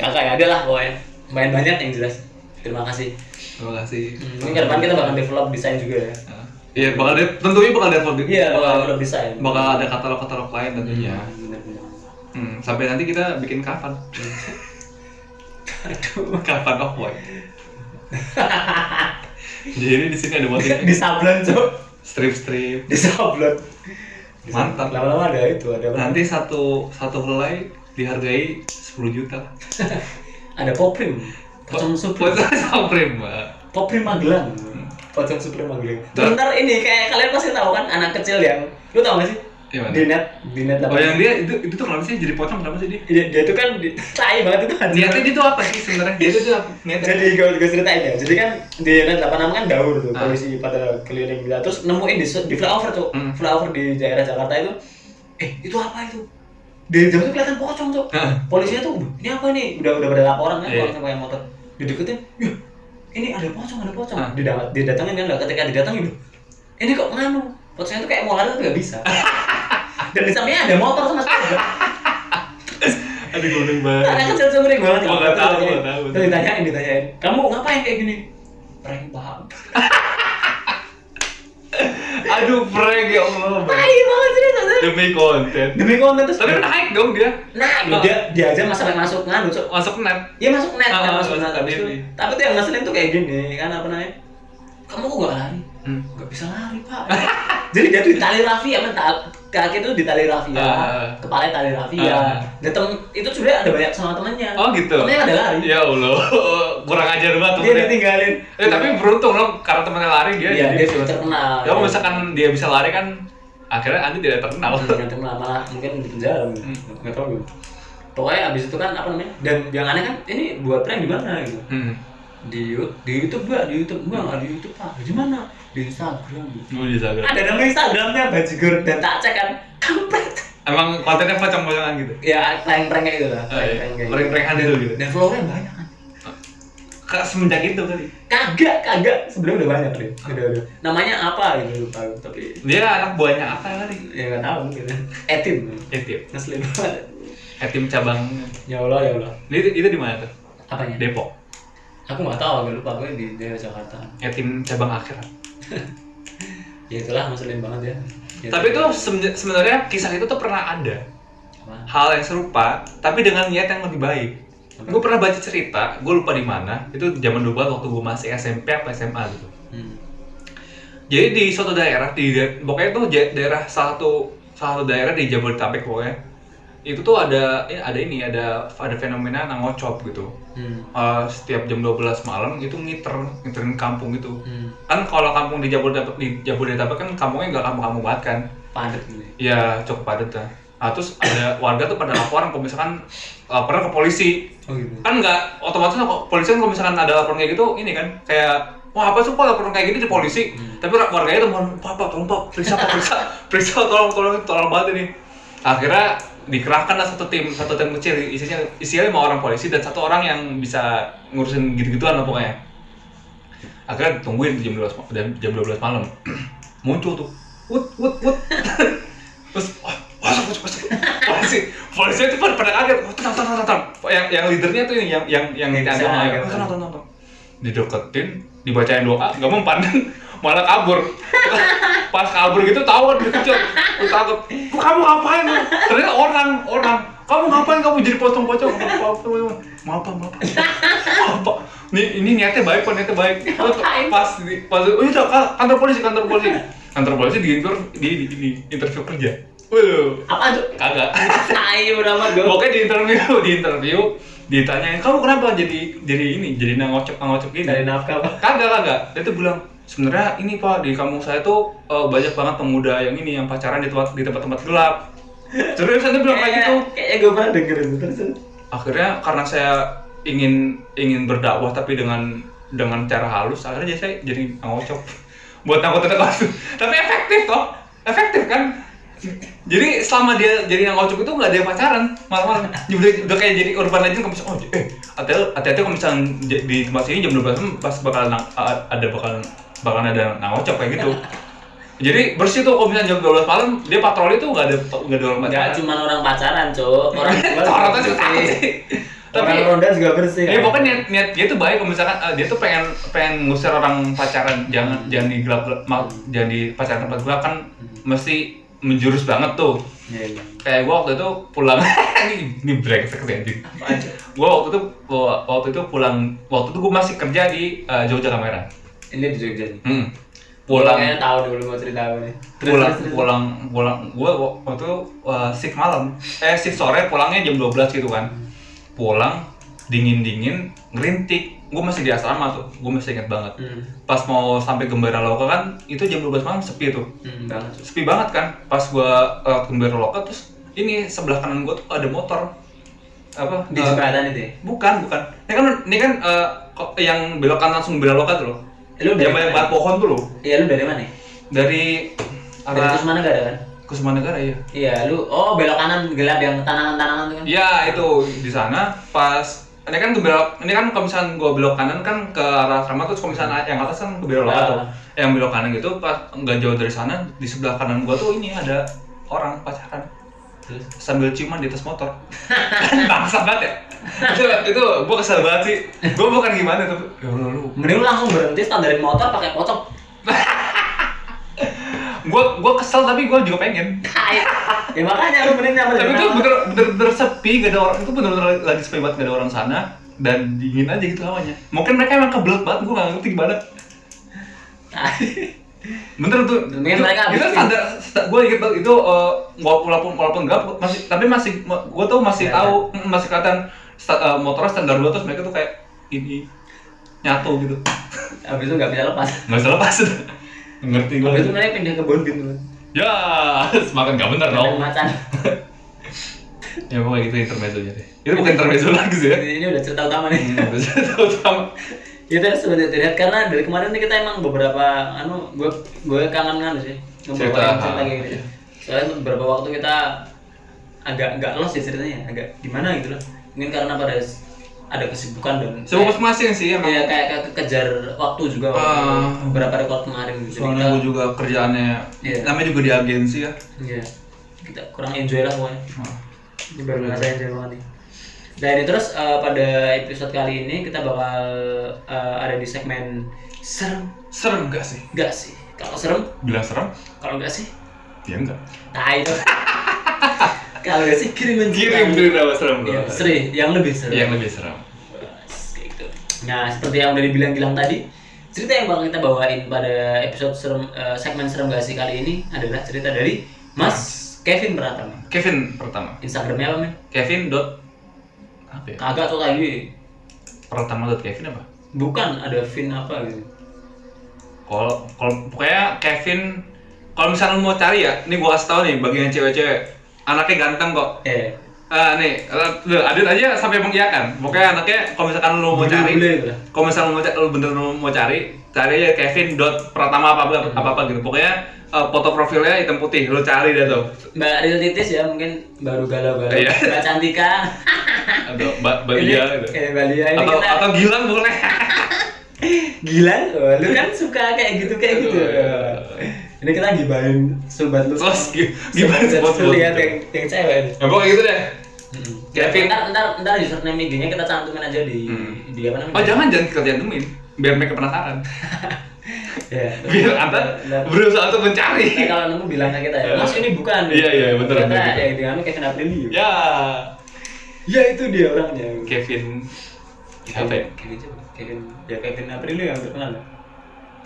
A: Kakak ada lah pokoknya. Lumayan banyak yang jelas. Terima kasih.
C: Terima kasih.
A: Hmm, Mungkin ke depan kita bakal develop desain juga ya.
C: Nah, Iya, bakal ada, tentunya bakal ada produk.
A: Iya, bakal develop desain.
C: bakal ada katalog-katalog lain tentunya.
A: Bener-bener.
C: Hmm, sampai nanti kita bikin kapan?
A: Aduh.
C: kapan off white. Jadi di sini ada motif
A: Disablon, Cok.
C: strip-strip.
A: Disablon.
C: Mantap.
A: Lama-lama ada itu, ada apa?
C: Nanti satu satu helai dihargai 10 juta.
A: Ada Poprim. Pocong Supreme.
C: Pocong Supreme, Mbak.
A: Poprim Magelang.
C: Hmm.
A: Pocong Supreme Magelang. Terus ntar ini kayak kalian pasti tahu kan anak kecil yang lu tau gak sih?
C: Iya, mana?
A: Dinet, Dinet
C: Oh,
A: 8.
C: yang dia itu itu tuh kenapa sih jadi pocong kenapa sih dia?
A: Dia, dia tuh kan di- tai banget itu anjing.
C: Niatnya dia tuh apa sih sebenarnya? Dia tuh apa? Niatnya
A: jadi gue gue ceritain ya jadi kan di Ren 86 kan gaul tuh
C: Ah.
A: polisi pada keliling gila terus nemuin di, di flyover tuh
C: Hmm.
A: flyover di daerah Jakarta itu eh itu apa itu dari jauh tuh kelihatan pocong tuh
C: Ah.
A: polisinya tuh "Duh, ini apa nih udah udah pada laporan kan
C: Iya.
A: orang sama yang motor dideketin "Yah, ini ada pocong ada pocong
C: Ah.
A: Didat- didatengin kan lah ketika didatengin "Duh, ini kok nganu pocongnya tuh kayak mau lari tapi gak bisa dan di sampingnya ada motor sama sepeda
C: Aduh, gue udah banget.
A: Anak kecil sumring banget.
C: Gua nggak tahu, gua nggak tahu.
A: Terus ditanyain, ditanyain. Kamu ngapain kayak gini? Prank paham.
C: Aduh, prank ya Allah. Bang.
A: Tai banget serius anjir.
C: Demi konten.
A: Demi konten terus.
C: Tapi naik dong dia.
A: Nah,
C: Ah.
A: dia dia aja masa sampai masuk nganu, Cok.
C: Masuk net.
A: Iya masuk net,
C: Ah,
A: kan,
C: ah,
A: masuk
C: masuk
A: net abis
C: net,
A: itu.
C: iya.
A: Tapi tuh yang ngeselin tuh kayak gini, kan apa namanya? Kamu kok gak lari?
C: Hmm.
A: Gak bisa lari, Pak. Jadi dia tuh ditali rafia, mental kaki itu ditali rafia,
C: Ah.
A: kepala tali rafia.
C: Ah.
A: Dan Nah, tem- itu sebenarnya ada banyak sama temennya.
C: Oh gitu.
A: Temennya ada lari.
C: Ya Allah, kurang ajar banget
A: Dia
C: temennya.
A: ditinggalin.
C: Eh tapi beruntung loh karena temennya lari dia
A: Iya, dia
C: jadi.
A: terkenal.
C: Ya kalau misalkan dia bisa lari kan akhirnya Andi tidak terkenal.
A: Jangan terkenal malah mungkin di penjara gitu.
C: Hmm.
A: nggak tahu gitu. Pokoknya abis itu kan apa namanya? Dan yang aneh kan ini buat prank di mana gitu?
C: Hmm.
A: Di, Yu- di YouTube mbak, di YouTube mbak, nggak di YouTube pak, di mana? Di Instagram.
C: Mau di Instagram.
A: Ada nama Instagramnya bajigur dan tak cek kan? Kampret.
C: Emang kontennya pocong-pocongan gitu.
A: Ya prank-prank kayak gitu lah.
C: Oh, iya.
A: prank-prank kayak gitu.
C: Prank-prankan itu gitu.
A: Dan followernya banyak kan?
C: Kak semenjak itu kali.
A: Kagak, kagak. Sebelumnya udah banyak deh. Udah, udah. Namanya apa gitu lupa aku. tapi
C: Dia anak buahnya apa kali? Eh,
A: ya nggak tahu gitu. Etim.
C: Etim.
A: Ngeselin banget.
C: Etim Eh, cabang.
A: Ya Allah, ya Allah.
C: Itu itu di mana tuh?
A: Apanya?
C: Depok.
A: aku nggak tahu aku lupa aku di daerah Jakarta
C: Etim Ya, cabang akhirat.
A: ya itulah ngeselin banget ya, Ya,
C: Tapi itu semen- sebenarnya kisah itu tuh pernah ada
A: apa?
C: hal yang serupa, tapi dengan niat yang lebih baik.
A: Apa?
C: Gue pernah baca cerita, gue lupa di mana. Itu zaman dulu banget waktu gue masih SMP apa SMA gitu.
A: Hmm.
C: Jadi di suatu daerah di da- pokoknya tuh ja- daerah salah satu salah satu daerah di Jabodetabek pokoknya itu tuh ada ya ada ini ada ada fenomena nangocop gitu.
A: Hmm.
C: Eh, setiap jam 12 malam itu ngiter ngiterin kampung gitu.
A: Hmm.
C: Kan kalau kampung di Jabodetabek di Jabodetabek kan kampungnya nggak kampung-kampung banget kan.
A: padat gitu
C: Ya cukup padat lah. Nah, terus ada warga tuh pada laporan kalau misalkan laporan ke polisi
A: oh gitu
C: kan nggak otomatis kok polisi kan kalau misalkan ada laporan kayak gitu ini kan kayak wah apa sih kok laporan kayak gini di polisi
A: Hmm.
C: tapi warganya tuh mohon pak pak tolong pak periksa pak periksa periksa tolong tolong tolong banget ini akhirnya dikerahkan lah satu tim satu tim kecil isinya isinya lima orang polisi dan satu orang yang bisa ngurusin gitu-gituan lah pokoknya akhirnya tungguin jam 12 ma- dan jam 12 malam muncul tuh wut wut wut terus wah masuk masuk masuk polisi polisi itu pada pada kaget oh, tenang tenang tenang, tenang yang yang leadernya tuh ini yang yang yang yang
A: Yang
C: agama
A: bisa,
C: ya
A: gitu.
C: "Oh, tenang tenang tenang dideketin dibacain doa nggak mempan malah kabur pas kabur gitu tahu kan dikejar Terus takut "Kok kamu ngapain lu?" ternyata orang orang kamu ngapain kamu jadi pocong-pocong maaf maaf maaf maaf maaf, maaf maaf Pak. ini ini niatnya baik kok niatnya baik Terus
A: Ngapain?
C: pas di, pas oh iya Kak, kantor polisi kantor polisi kantor polisi di di, di, di interview kerja waduh
A: apa tuh
C: kagak
A: ayo nama gue
C: pokoknya di interview di interview ditanyain kamu kenapa jadi jadi ini jadi nangocok nangocok gini
A: dari nafkah pak
C: kagak kagak dia tuh bilang sebenarnya ini pak di kampung saya tuh eh, banyak banget pemuda yang ini yang pacaran di tempat di tempat-tempat gelap terus dia bilang kayak
A: Kayaknya-
C: gitu
A: Eh, kayaknya gue pernah dengerin terus
C: akhirnya karena saya ingin ingin berdakwah tapi dengan dengan cara halus akhirnya jadi saya jadi ngocok buat angkot kasus tapi efektif toh efektif kan jadi selama dia jadi yang ngocok itu nggak ada yang pacaran malah malah udah, udah kayak jadi urban legend kamu bisa, oh eh hati-hati hati-hati kalau misalkan j- di tempat sini jam 12 malam, pas bakalan nang- a- ada bakalan bakalan ada ngocok kayak gitu jadi bersih tuh kalau misalnya jam 12 malam dia patroli tuh nggak ada nggak ada orang
A: nggak
C: pacaran
A: cuma orang pacaran cok orang tua juga
C: Corotnya juga takut
A: bersih.
C: sih. Tapi
A: orang ronda juga bersih kan?
C: ya pokoknya niat niat dia tuh baik kalau misalkan eh, dia tuh pengen pengen ngusir orang pacaran jangan jangan di gelap gelap ma- jangan di pacaran tempat gelap kan mesti menjurus banget tuh.
A: Iya, iya.
C: Kayak gua waktu itu pulang ini ini brengsek sih anjing.
A: Apaan, Cok?
C: Gua waktu itu gua- waktu itu pulang waktu itu gua masih kerja di eh, Jogja Kamera.
A: ini di Jogja nih
C: Hmm. Pulang
A: Kayaknya tahu dulu mau cerita apa nih
C: pulang pulang pulang gue waktu itu uh, shift malam eh shift sore pulangnya jam 12 gitu kan pulang dingin dingin ngerintik gue masih di asrama tuh gue masih inget banget
A: hmm.
C: pas mau sampai gembira loka kan itu jam 12 malam sepi tuh
A: hmm, banget Cok.
C: sepi banget kan pas gue uh, gembira loka terus ini sebelah kanan gue tuh ada motor apa
A: di
C: uh,
A: jembatan itu ya
C: bukan bukan ini kan ini kan uh, kok- yang belok kanan langsung gembira loka tuh loh
A: Eh, lu dari
C: yang banyak
A: mana?
C: banget pohon tuh loh
A: iya lu dari mana ya?
C: dari
A: dari
C: arah
A: terus mana gak ada kan
C: Kusumanegara ya
A: Iya, lu oh belok kanan gelap yang tanaman-tanaman tuh kan.
C: Ya itu di sana pas ini kan belok ini kan kalau misalnya gua belok kanan kan ke arah asrama terus kalau misalnya yang atas kan ke belok
A: Ah.
C: tuh. Yang belok kanan gitu pas nggak jauh dari sana di sebelah kanan gua tuh ini ada orang pacaran
A: Terus
C: sambil ciuman di atas motor. Bangsa banget ya. itu, itu gua kesel banget sih. Gua bukan gimana tapi ya Allah, lu.
A: mending lu langsung berhenti standarin motor pakai pocong.
C: gue gue kesel tapi gue juga pengen
A: ya makanya lu mending nyampe
C: tapi itu bener, bener bener sepi gak ada orang itu bener bener lagi sepi banget gak ada orang sana dan dingin aja gitu hawanya mungkin mereka emang kebelet banget gue gak ngerti gimana bener tuh
A: Mungkin
C: itu,
A: mereka habis
C: itu
A: sih.
C: standar gue inget banget itu eh, walaupun walaupun walaupun enggak masih tapi masih gue tuh masih
A: Ya,
C: tahu mm, masih kelihatan sta- eh, motornya standar gue terus mereka tuh kayak ini nyatu gitu
A: abis itu nggak bisa lepas
C: nggak bisa lepas ngerti gue
A: abis itu mereka pindah ke Bonbin lu
C: ya semakin gak bener
A: Ada
C: dong
A: macan
C: ya pokoknya gitu intermezzonya deh itu bukan intermezzo lagi sih ya
A: ini udah cerita utama nih
C: terutama
A: Ya terus sebenarnya terlihat karena dari kemarin nih kita emang beberapa anu gue gue kangen kan sih
C: Cerita,
A: beberapa yang cerita
C: ah,
A: kayak gitu.
C: iya.
A: Soalnya beberapa waktu kita agak nggak los ya ceritanya, agak gimana gitu loh. Mungkin karena pada s- ada kesibukan dan
C: sibuk masing-masing sih emang
A: kayak, kayak, kayak kekejar waktu juga waktu
C: Ah.
A: beberapa rekor kemarin gitu. Jadi
C: soalnya gue
A: kita,
C: juga kerjaannya
A: Iya.
C: namanya juga di agensi ya
A: iya, kita kurang enjoy lah pokoknya.
C: Nah,
A: Ini baru ngerasain seru banget nih. Nah ini terus eh, pada episode kali ini kita bakal eh, ada di segmen serem
C: serem gak sih
A: Enggak sih. Kalau serem,
C: bilang serem
A: kalau enggak sih,
C: ya enggak
A: nah itu. kalau enggak sih kirimin kita.
C: kirim berita serem
A: Iya,
C: loh
A: seri, yang lebih seru.
C: yang lebih serem
A: Bas, kayak gitu. Nah, seperti yang udah dibilang bilang tadi, cerita yang bakal kita bawain pada episode serem eh, segmen serem gak sih kali ini adalah cerita dari Mas Kevin Pratama.
C: Kevin pertama
A: Instagramnya apa men?
C: Kevin dot apa ya?
A: Kagak tuh lagi.
C: pertama dot Kevin apa
A: Bukan ada Vin apa gitu.
C: kalau kalau pokoknya Kevin kalau misalnya lu mau cari ya ini gua kasih tau nih bagian cewek-cewek anaknya ganteng kok
A: Eh,
C: Ah nih, eh, Adit aja sampai mengiyakan. Pokoknya anaknya kalau misalkan lu mau cari,
A: bule-bule gitu lah.
C: kalau misalkan lu mau cari, lu bener lu mau cari, cari aja Kevin dot pertama apa apa
A: Hmm.
C: apa, apa gitu. Pokoknya eh, foto profilnya hitam putih, lu cari deh tuh.
A: Mbak Ril Titis ya mungkin baru galau-galau.
C: Iya.
A: Mbak Cantika.
C: Atau mbak mbak
A: Ini-
C: Lia gitu.
A: Eh, Mbak Lia ini
C: Atau
A: kita
C: atau Gilang boleh.
A: Gila, oh, lu kan suka kayak gitu kayak gitu.
C: Aduh, iya.
A: Ini kita gibahin sobat lu.
C: Terus gi- gimana sih buat
A: buat
C: buat-
A: lihat yang yang cewek. nih.
C: Ya pokoknya gitu deh. Kevin.
A: Ntar ntar ntar username IG-nya kita cantumin aja di
C: Hmm.
A: di apa namanya?
C: Oh jangan jangan kerjaan dumin, biar mereka penasaran.
A: Ya.
C: Biar anda berusaha untuk
A: Nah,
C: mencari.
A: kalau nemu bilang ke kita ya, Mas ini bukan.
C: Iya, iya, betul,
A: Ternyata
C: betul, betul.
A: yang dengan Kevin Aprilio.
C: Ya,
A: Ya itu dia orangnya.
C: Kevin. Siapa ya?
A: Kevin siapa? Kevin ya Kevin Aprilio yang terkenal. ya?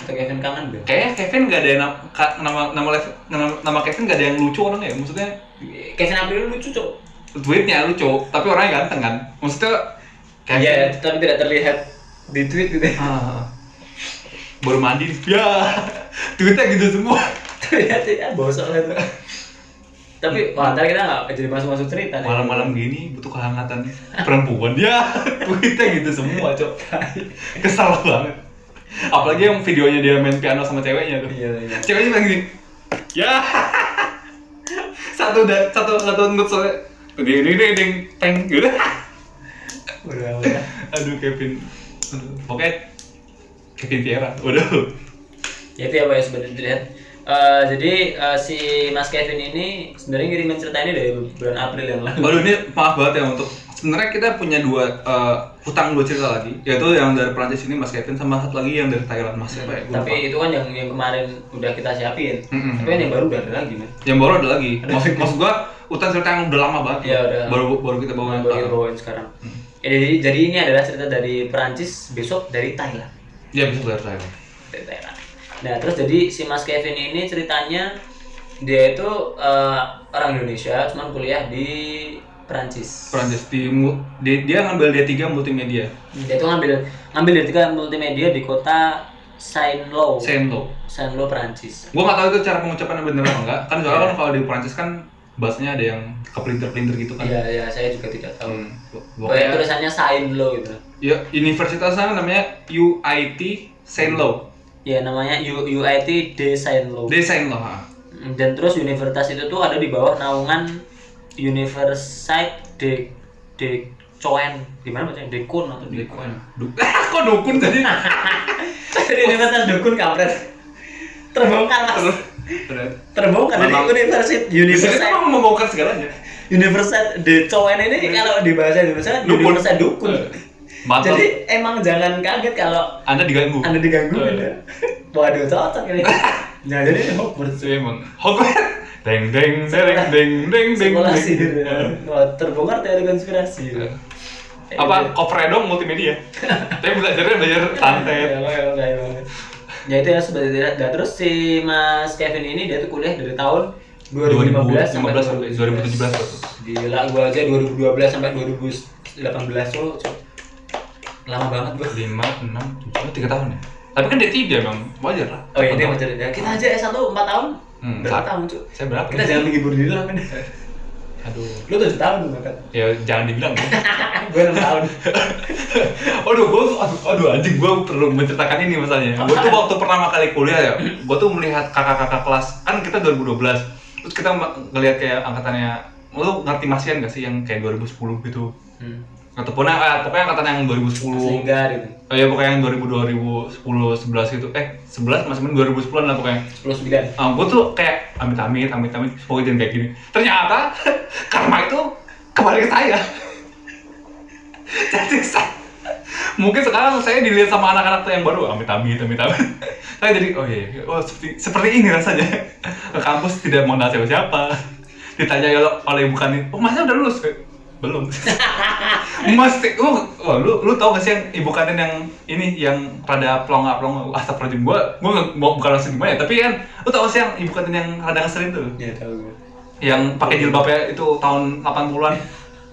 A: Atau Kevin Kangen deh.
C: Kayaknya Kevin gak ada yang nam- ka- nama nama Lev- nama, nama Kevin gak ada yang lucu orangnya ya. Maksudnya
A: Kevin Aprilio lucu, Cok.
C: tweetnya lucu, tapi orangnya ganteng kan. Maksudnya Kevin.
A: Iya, tapi tidak terlihat di tweet gitu.
C: Ah. baru mandi. Ya. tweetnya gitu semua.
A: Terlihat ya, bosok lah itu. Tapi wah, ntar kita nggak jadi masuk-masuk cerita. nih.
C: Malam-malam gini butuh kehangatan perempuan. Ya, tweetnya gitu semua, Cok. Kesal banget. Apalagi yang videonya dia main piano sama ceweknya tuh.
A: Iya, iya.
C: Ceweknya bilang gini. Ya. satu dan satu satu nut soalnya. Ding ding ding ding peng gitu.
A: Udah, udah.
C: Aduh Kevin. Aduh. Pokoknya Kevin Vieira. Waduh.
A: Ya itu ya, Pak, ya sebenarnya terlihat. Eh, jadi eh, si Mas Kevin ini sebenarnya ngirimin cerita ini dari bulan April yang lalu.
C: Waduh ini maaf banget ya untuk sebenarnya kita punya dua eh, hutang dua cerita lagi yaitu yang dari Prancis ini Mas Kevin sama satu lagi yang dari Thailand Mas siapa ya? Gua lupa.
A: Tapi itu kan yang yang kemarin udah kita siapin.
C: Mm-mm.
A: Tapi kan yang baru udah ada lagi, man.
C: yang baru ada lagi. Maksud, maksud gua hutang cerita yang udah lama banget.
A: Iya, udah.
C: Baru baru kita bawa
A: Yang
C: Oh,
A: baru
C: yang
A: kita
C: Thailand.
A: bawain sekarang. Ya, jadi, jadi ini adalah cerita dari Perancis, besok dari Thailand.
C: Iya bisa dari Thailand.
A: dari Thailand. Nah terus jadi si Mas Kevin ini ceritanya dia itu eh, orang Indonesia cuman kuliah di Perancis.
C: Prancis di, mu- di- dia ngambil D3 multimedia.
A: Dia itu ngambil ngambil dari tiga multimedia di kota Saint-Lô.
C: Sento.
A: Saint-Lô Perancis.
C: Gua nggak tahu itu cara pengucapannya bener apa enggak. Kan
A: Iya.
C: soalnya kan kalau di Prancis kan bahasanya ada yang kepelintir-pelintir gitu kan.
A: Iya Oh, ya saya juga tidak tahu.
C: Hmm.
A: Pokoknya
C: Pokoknya
A: tulisannya Saint-Lô gitu.
C: ya universitasnya namanya UIT Saint-Lô.
A: Ya namanya U- UIT de Saint-Lô.
C: Di Saint-Lô. ha.
A: Hmm, Dan terus universitas itu tuh ada di bawah naungan Universite de de Coen. Gimana bacanya? De Koen atau de Coen?
C: Du- Kok dukun tadi?
A: Jadi universitas dukun kampret. Terbongkar mas.
C: Terus
A: Terbongkar dari
C: Memang-
A: universitas
C: Terus
A: universitas
C: emang membongkar segalanya.
A: universitas de Coen ini kalau di bahasa Indonesia
C: Dukun. Eh.
A: universitas dukun.
C: Mantap.
A: Jadi emang jangan kaget kalau
C: Anda diganggu.
A: anda diganggu
C: Eh.
A: Anda. Waduh cocok ini. Nah, jadi
C: oh,
A: Hogwarts.
C: Itu emang Hogwarts. Deng deng deng deng deng Ya. deng.
A: Simulasi.
C: deng.
A: Wah, terbongkar teori konspirasi.
C: Eh.
A: Iya.
C: Apa covernya dong multimedia. Tapi belajarnya belajar
A: Ya,
C: santet.
A: emang, emang, emang. Ya itu ya sebagai tidak. Nah, terus si Mas Kevin ini dia tuh kuliah dari tahun 2015 sampai 2017.
C: 2015,
A: Gila, gua aja 2012 sampai 2018 tuh lama banget gua.
C: 5, 6, 7, 3 tahun ya? Tapi kan D3 bang, wajar lah
A: Oh iya, dia mau cerita. Kita aja S1 4 tahun.
C: Hmm,
A: berapa
C: sa-
A: tahun, Cuk?
C: Saya berapa?
A: Kita jangan menghibur diri lah, men.
C: Aduh
A: Lu 7 tahun lu kan.
C: Ya jangan dibilang ya.
A: Gua 6 tahun.
C: Aduh, gue, aduh, aduh anjing gue perlu menceritakan ini masalahnya Gue tuh waktu pertama kali kuliah ya Gue tuh melihat kakak-kakak kelas Kan kita 2012 Terus kita ma- ngelihat kayak angkatannya Lu ngerti masian gak sih yang kayak 2010 gitu?
A: Hmm.
C: Ataupun eh, pokoknya angkatan yang 2010
A: Sehingga gitu.
C: Oh iya pokoknya yang 2000, 2010, 11 gitu Eh 11 masih 2010 lah pokoknya
A: 10 9.
C: Ah, gue tuh kayak amit amit amit amit semoga jangan kayak gini ternyata karma itu kembali ke saya jadi saya mungkin sekarang saya dilihat sama anak-anak tuh yang baru amit amit amit amit saya jadi oh iya iya. oh seperti seperti ini rasanya ke kampus tidak mengenal siapa siapa ditanya oleh- oleh bukan ini oh masnya udah lulus Eh, belum Mas, lu, wah, lu, lu tau gak sih yang ibu kantin yang ini yang rada pelonga pelonga asap rajin gua, gua nggak mau bukan langsung gimana ya, tapi kan lu tau gak sih yang ibu kantin yang rada ngeselin tuh,
A: Ya tahu gua.
C: yang pakai jilbabnya itu tahun 80-an,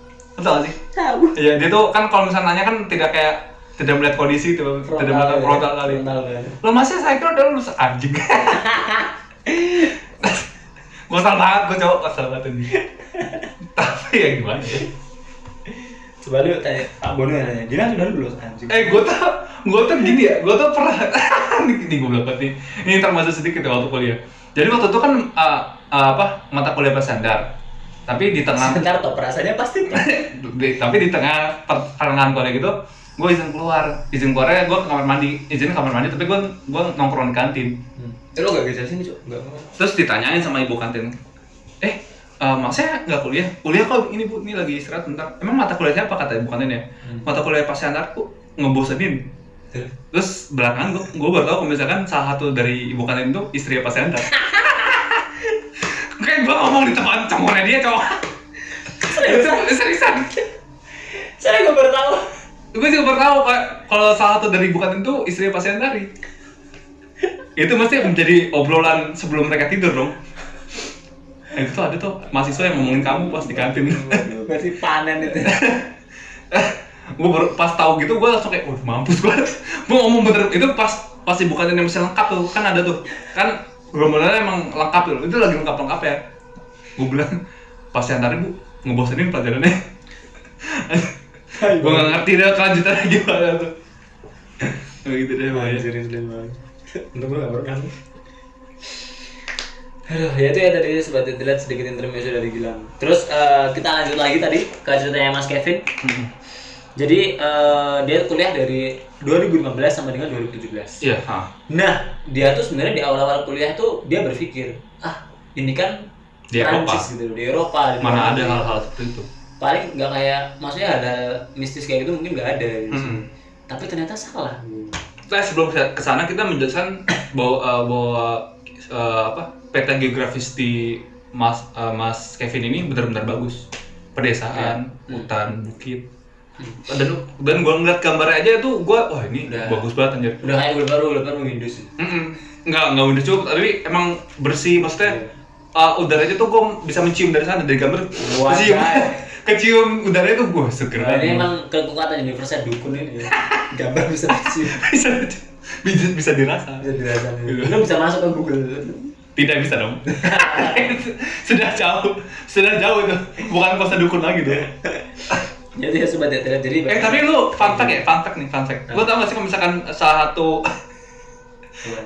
C: lu tau gak sih?
A: Tahu.
C: Iya dia tuh kan kalau misalnya nanya kan tidak kayak tidak melihat kondisi tuh, tidak
A: iya.
C: melihat frontal kali.
A: Frontal kali.
C: Lo masih saya kira udah lulus anjing. gue salah banget, gue cowok kesel banget ini. tapi ya gimana ya?
A: Coba lu tanya Pak Bono yang nanya. Dia kan sudah lulus anjing.
C: Eh, gue tuh, gue tuh gini ya, gue tuh pernah, ini gue bilang banget nih, ini termasuk sedikit ya waktu kuliah. Jadi waktu itu kan eh, eh, apa mata kuliah bahasa standar, tapi di tengah,
A: Sebentar toh, perasaannya pasti toh.
C: di- tapi di tengah pertengahan kuliah gitu, gue izin keluar, izin keluarnya gue ke kamar mandi, izin ke kamar mandi, tapi gue gue nongkrong di kantin.
A: Eh, lu gak geser sini, Cuk. Enggak mau.
C: Terus ditanyain sama ibu kantin, eh eh, maksudnya nggak kuliah? Kuliah kok ini bu, ini lagi istirahat bentar. Emang mata kuliahnya apa kata ibu kantin ya? Mata kuliah pas standar kok ngebosenin
A: Terus?
C: terus belakangan gue gue baru tau kalau misalkan salah satu dari ibu kantin itu istri pas Hendra kayak gue ngomong di tempat cowoknya dia cowok Serius- seriusan
A: Saya gak baru tahu.
C: gue juga baru tau kayak kalau salah satu dari ibu kantin itu istri pas Hendra itu mesti menjadi obrolan sebelum mereka tidur dong Nah, itu tuh ada tuh mahasiswa yang ngomongin kamu pas di kantin
A: Aduh, Pasti panen itu.
C: gue baru pas tahu gitu gue langsung kayak waduh mampus gue gue ngomong bener itu pas pas ibu kantin yang masih lengkap tuh kan ada tuh kan hormonalnya emang lengkap tuh itu lagi lengkap lengkap ya gue bilang pas yang tadi bu ngebosenin pelajarannya gue nggak ngerti deh kelanjutannya gimana tuh Nah, gitu deh
A: Iya.
C: Pak, ya.
A: Anjir, sedih banget. Untung gue gak pernah. kan? Aduh, ya itu ya tadi sebagai dilihat sedikit intermezzo dari Gilang. Terus eh, kita lanjut lagi tadi ke ceritanya Mas Kevin.
C: Hmm.
A: Jadi eh, dia kuliah dari 2015 sama dengan 2017.
C: iya ah.
A: Nah, dia tuh sebenarnya di awal-awal kuliah tuh dia berpikir, ah ini kan
C: Di
A: Prancis gitu, di Eropa. Di
C: mana ada
A: Prancis."
C: hal-hal seperti itu
A: Paling nggak kayak, maksudnya ada mistis kayak gitu mungkin nggak ada. Gitu.
C: Mm-mm.
A: Tapi ternyata salah.
C: Nah, sebelum ke sana kita menjelaskan bahwa, eh, bahwa eh, apa peta geografis di Mas eh, Mas Kevin ini benar-benar bagus.
A: Iya. Hmm.
C: Pedesaan, hutan, bukit. Dan dan gua ngeliat gambarnya aja itu gua wah ini
A: Udah.
C: bagus banget anjir.
A: Udah kayak udah baru, udah baru Windows.
C: Mm-mm. Nggak, nggak udah cukup, tapi emang bersih maksudnya
A: Iya.
C: eh, udaranya tuh gua bisa mencium dari sana dari gambar
A: Wah,
C: kecium
A: guys.
C: kecium udaranya tuh gua seger
A: Nah, ini
C: banget.
A: emang kekuatan Universal dukun ini. ya. Gambar bisa kecil,
C: bisa, bisa bisa dirasa
A: bisa dirasain.
C: Iya.
A: Lu bisa masuk ke Google.
C: Tidak bisa dong. sudah jauh, sudah jauh itu. Bukan kuasa dukun lagi tuh.
A: Jadi ya sobat ya, jadi
C: Eh tapi lu fun fact ya, fun fact nih, fun fact. Lu tau gak sih kalau misalkan salah satu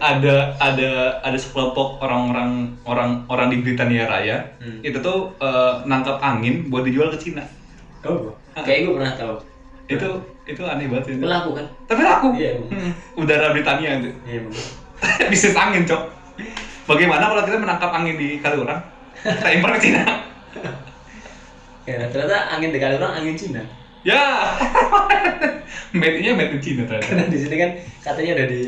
C: ada ada ada sekelompok orang-orang orang orang di Britania Raya
A: Hmm.
C: itu tuh eh, nangkap angin buat dijual ke Cina.
A: Oh, kayak gue pernah tahu.
C: Itu itu aneh banget itu.
A: Pelaku kan?
C: Tapi laku.
A: Iya.
C: Hmm, udara Britania itu.
A: Iya, Bang.
C: Bisnis angin, Cok. Bagaimana kalau kita menangkap angin di kali orang? Kita impor ke Cina.
A: Ya, ternyata angin di kali orang angin Cina.
C: Ya, made-nya made in Cina ternyata.
A: Karena di sini kan katanya udah di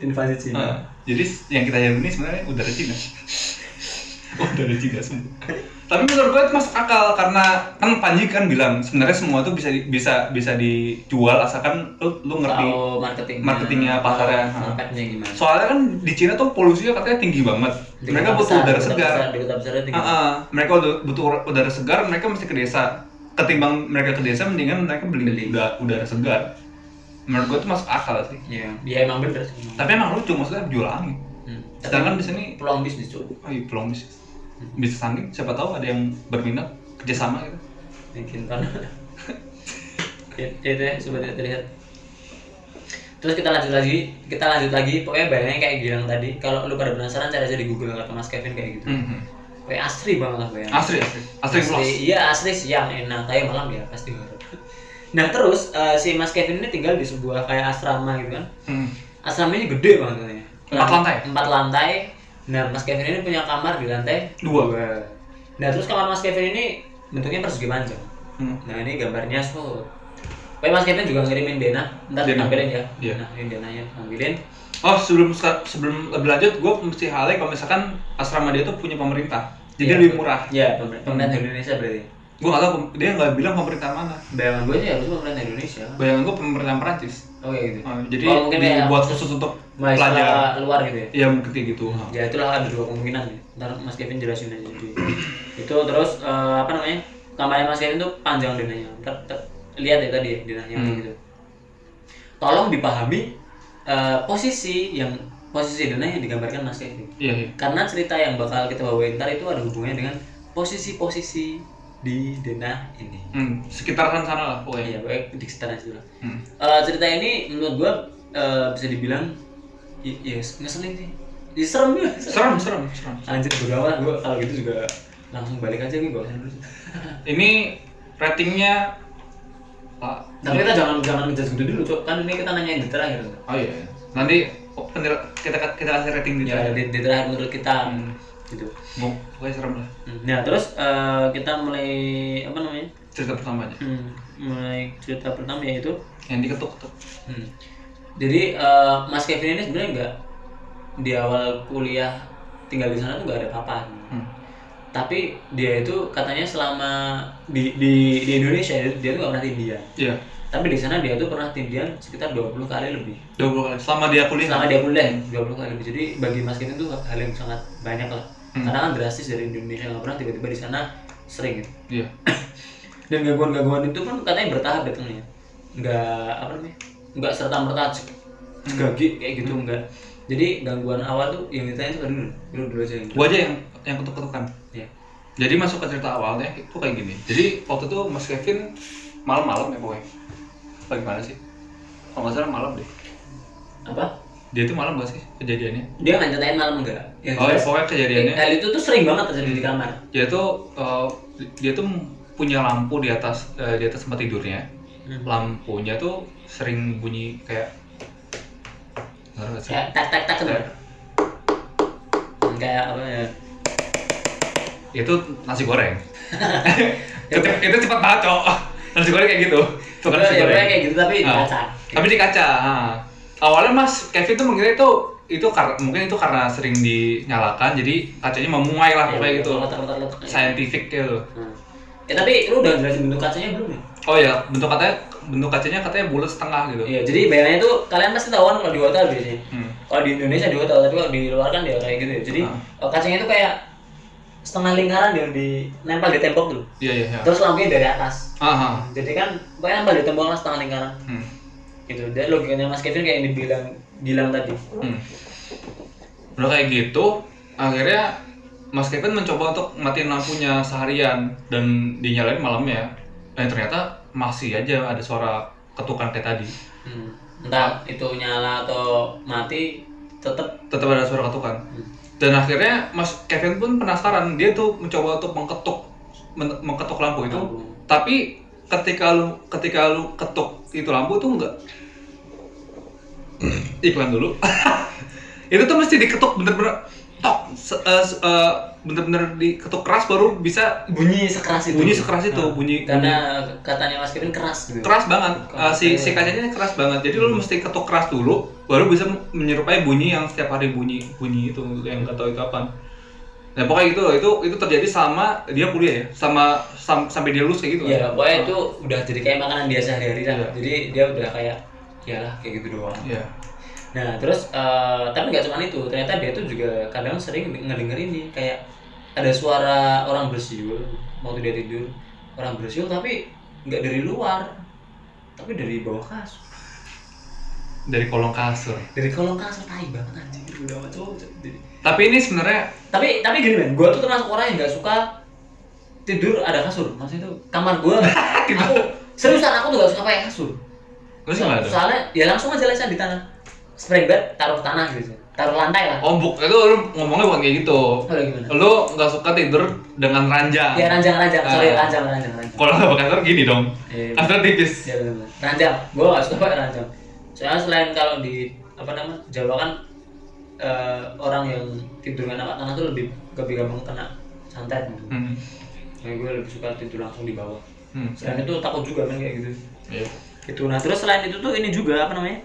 A: invasi Cina.
C: Nah, jadi yang kita jalani ini sebenarnya udara Cina. udara Cina semua. Tapi menurut gue itu masuk akal karena kan Panji kan bilang sebenarnya semua tuh bisa di- bisa bisa dijual asalkan lu, lu ngerti.
A: Tahu marketingnya,
C: marketingnya, pasarnya,
A: tahu
C: ha.
A: marketnya gimana.
C: Soalnya kan di Cina tuh polusinya katanya tinggi banget.
A: Di
C: mereka
A: kota
C: butuh
A: besar, di
C: udara
A: kota
C: segar.
A: besar, Di kota besar itu
C: Ah, ah. mereka udah- butuh ura- udara segar, mereka mesti ke desa. Ketimbang mereka ke desa mendingan mereka beli,
A: Beli.
C: uda- udara segar. Menurut gue tuh masuk akal sih.
A: Iya, ya emang bener sih.
C: Tapi emang lucu maksudnya jual angin.
A: Hmm.
C: Sedangkan di sini
A: peluang bisnis cuy.
C: Oh iya, peluang bisnis. Bisnis tanding, siapa tahu ada yang berminat kerjasama gitu.
A: bikin tanah ya, ya deh sobatnya terlihat terus kita lanjut lagi kita lanjut lagi pokoknya bayangnya kayak bilang tadi kalau lu pada penasaran cari aja di Google kata Mas Kevin kayak gitu
C: Hmm.
A: kayak asri banget lah bayangnya
C: Asri, asri. Asri plus.
A: iya asri siang enak tapi malam ya pasti horor nah terus eh, si Mas Kevin ini tinggal di sebuah kayak asrama gitu kan
C: Hmm.
A: asramanya gede banget katanya
C: Empat lantai?
A: empat lantai nah Mas Kevin ini punya kamar di lantai
C: Dua.
A: nah terus kamar Mas Kevin ini bentuknya persegi panjang
C: Hmm.
A: Nah ini gambarnya so. Pokoknya Mas Kevin juga ngirimin Dena, ntar
C: Dena.
A: tampilin ya.
C: Iya.
A: Nah, ini Denanya tampilin.
C: Oh sebelum ska- sebelum lebih lanjut, gue mesti hale kalau misalkan asrama dia tuh punya pemerintah, jadi
A: Iya.
C: lebih murah. Hmm.
A: Iya, pemer- pemerintah Indonesia berarti.
C: Gue nggak tahu pem- dia nggak bilang pemerintah mana.
A: Bayangan gue sih harusnya pemerintah Indonesia.
C: Bayangan gue pemerintah Perancis.
A: Oh kayak gitu.
C: Oh, jadi
A: Oh, mungkin kayak
C: dibuat khusus untuk pelajar.
A: Mahasiswa luar gitu ya.
C: Iya mungkin kayak gitu. Hmm.
A: Ya itulah ada dua kemungkinan ya. Ntar Mas Kevin jelasin aja di itu terus eh, apa namanya kamarnya Mas Kevin tuh panjang Denanya. Ntar, ntar lihat ya tadi ya Denanya
C: Hmm.
A: gitu. Tolong dipahami eh, posisi yang posisi Dena yang digambarkan Mas Kevin.
C: Iya iya.
A: karena cerita yang bakal kita bawain ntar itu ada hubungannya dengan posisi-posisi di denah ini
C: Hmm. Sekitaran sana lah
A: ya
C: pokoknya.
A: baik di sekitar situ lah
C: Hmm.
A: Eh, cerita ini menurut gua eh, bisa dibilang i- ya ngeselin sih ya, serem juga
C: Serem serem serem.
A: anjir berapa gua kalau gitu juga langsung balik aja gue gak usah dulu
C: Ini ratingnya Pak.
A: tapi kita jangan jangan ngejudge gitu dulu cok kan ini kita nanyain di terakhir
C: Oh iya. Nanti oh, penil- kita kita kasih rating di
A: ya
C: ya,
A: di, di terakhir menurut kita
C: Hmm.
A: gitu
C: Mau pokoknya serem lah.
A: nah terus eh, kita mulai apa namanya
C: Cerita pertamanya.
A: Hmm, mulai cerita pertama yaitu
C: Yang diketuk-ketuk.
A: Hmm. Jadi eh, Mas Kevin ini sebenarnya nggak di awal kuliah tinggal di sana tuh nggak ada apa-apa.
C: Hmm.
A: Tapi dia itu katanya selama di di, di Indonesia dia, dia tuh nggak pernah tindian.
C: Iya.
A: Tapi di sana dia tuh pernah tindian sekitar 20 kali lebih.
C: 20 kali. Selama dia kuliah.
A: Selama dia kuliah 20 kali lebih. Jadi bagi Mas Kevin tuh hal yang sangat banyak lah.
C: Hmm.
A: Karena kan drastis dari Indonesia nggak pernah tiba-tiba di sana sering gitu.
C: Iya.
A: Dan gangguan-gangguan itu kan katanya bertahap datangnya. Nggak apa namanya? Nggak serta merta Hmm. gagi kayak gitu enggak. Jadi gangguan awal tuh yang ditanya itu dulu. Dulu dulu aja yang.
C: Gua aja yang yang ketuk-ketukan.
A: Iya.
C: Jadi masuk ke cerita awalnya itu kayak gini. Jadi waktu itu Mas Kevin malam-malam ya pokoknya. Bagaimana sih? Kalau nggak salah malam deh.
A: Apa?
C: Dia itu malam gak sih kejadiannya?
A: Dia nggak nyatain malam enggak? Yang
C: Oh ya,
A: jelas, Eh,
C: pokoknya kejadiannya.
A: hal itu tuh sering banget terjadi di kamar.
C: Dia itu eh, dia tuh punya lampu di atas eh, di atas tempat tidurnya. lampunya tuh sering bunyi kayak Ngerti nggak sih?
A: Ya, tak tak tak
C: Kayak,
A: kan. Kayak apa ya?
C: itu nasi goreng itu, itu cepat banget cok nasi goreng kayak gitu tuh kan
A: Pokoknya
C: nasi goreng
A: kayak gitu tapi
C: Ah.
A: kaca.
C: tapi di kaca ah. awalnya mas Kevin tuh mengira itu itu karena mungkin itu karena sering dinyalakan jadi kacanya memuai
A: Iya,
C: lah pokoknya gitu
A: Letak-letak.
C: scientific gitu
A: iya. Ya tapi lu udah jelasin bentuk kacanya belum ya?
C: oh ya bentuk katanya bentuk kacanya katanya bulat setengah gitu
A: Iya, jadi bayangannya tuh kalian pasti tahuan kalau di hotel biasanya.
C: Hmm.
A: Kalau di Indonesia di hotel, tapi kalau di luar kan dia kayak gitu ya. Jadi
C: Ah.
A: eh, kacanya itu kayak setengah lingkaran yang di nempel di tembok dulu.
C: iya iya iya
A: Terus lampunya dari atas.
C: ah ah.
A: Jadi kan pokoknya nempel di tembok lah setengah lingkaran.
C: Hmm.
A: Gitu. Dan logikanya Mas Kevin kayak yang dibilang bilang tadi.
C: Hmm. Udah kayak gitu, akhirnya Mas Kevin mencoba untuk matiin lampunya seharian dan dinyalain malamnya. Dan ternyata masih aja ada suara ketukan kayak tadi.
A: Hmm. Entah itu nyala atau mati tetap
C: Tetap ada suara ketukan.
A: Hmm.
C: Dan akhirnya Mas Kevin pun penasaran, dia tuh mencoba untuk mengketuk men- mengketuk lampu itu. Tapi ketika lu ketika lu ketuk itu lampu tuh enggak iklan dulu. itu tuh mesti diketuk bener-bener tok se- eh, se- eh, bener-bener diketuk keras baru bisa
A: bunyi sekeras itu
C: bunyi sekeras itu,
A: Nah,
C: bunyi-
A: karena katanya Mas Kevin keras gitu
C: keras banget
A: Keras.
C: Eh, si si kacanya ini keras banget jadi
A: Hmm.
C: lu mesti ketuk keras dulu baru bisa menyerupai bunyi yang setiap hari bunyi bunyi itu yang nggak tahu itu apa nah pokoknya gitu loh itu itu terjadi sama dia kuliah ya sama sam- sampai dia lulus kayak gitu
A: ya
C: kan.
A: pokoknya itu udah jadi kayak makanan dia sehari-hari lah
C: Iya.
A: jadi dia udah kayak iyalah kayak gitu doang
C: Iya.
A: nah terus eh, tapi nggak cuma itu ternyata dia tuh juga kadang sering ngedenger ini kayak ada suara orang bersiul waktu dia tidur orang bersiul tapi nggak dari luar tapi dari bawah kasur
C: dari kolong kasur
A: dari kolong kasur tai banget anjing udah sama cowok jadi
C: tapi ini sebenarnya
A: tapi tapi gini men gue tuh termasuk orang yang nggak suka tidur ada kasur maksudnya itu kamar gue aku seriusan aku tuh gak suka pakai kasur
C: lu sih nggak ada
A: soalnya ya langsung aja lesan di tanah spring bed taruh tanah gitu taruh lantai lah
C: oh buk itu lu ngomongnya bukan kayak gitu
A: kalau gimana
C: lu nggak suka tidur dengan ranjang
A: ya ranjang ranjang sorry
C: Ah.
A: ranjang ranjang ranjang
C: kalau nggak pakai kasur gini dong
A: Eh,
C: kasur tipis
A: ya benar-benar. ranjang gue gak suka pakai ranjang soalnya selain kalau di apa namanya Jawa kan eh, orang yang tidur dengan anak tanah tuh lebih lebih gampang kena santet gitu.
C: hmm.
A: Nah, gue lebih suka tidur langsung di bawah.
C: Hmm.
A: Selain itu takut juga men kayak gitu.
C: Iya.
A: Gitu. Nah, terus selain itu tuh ini juga apa namanya?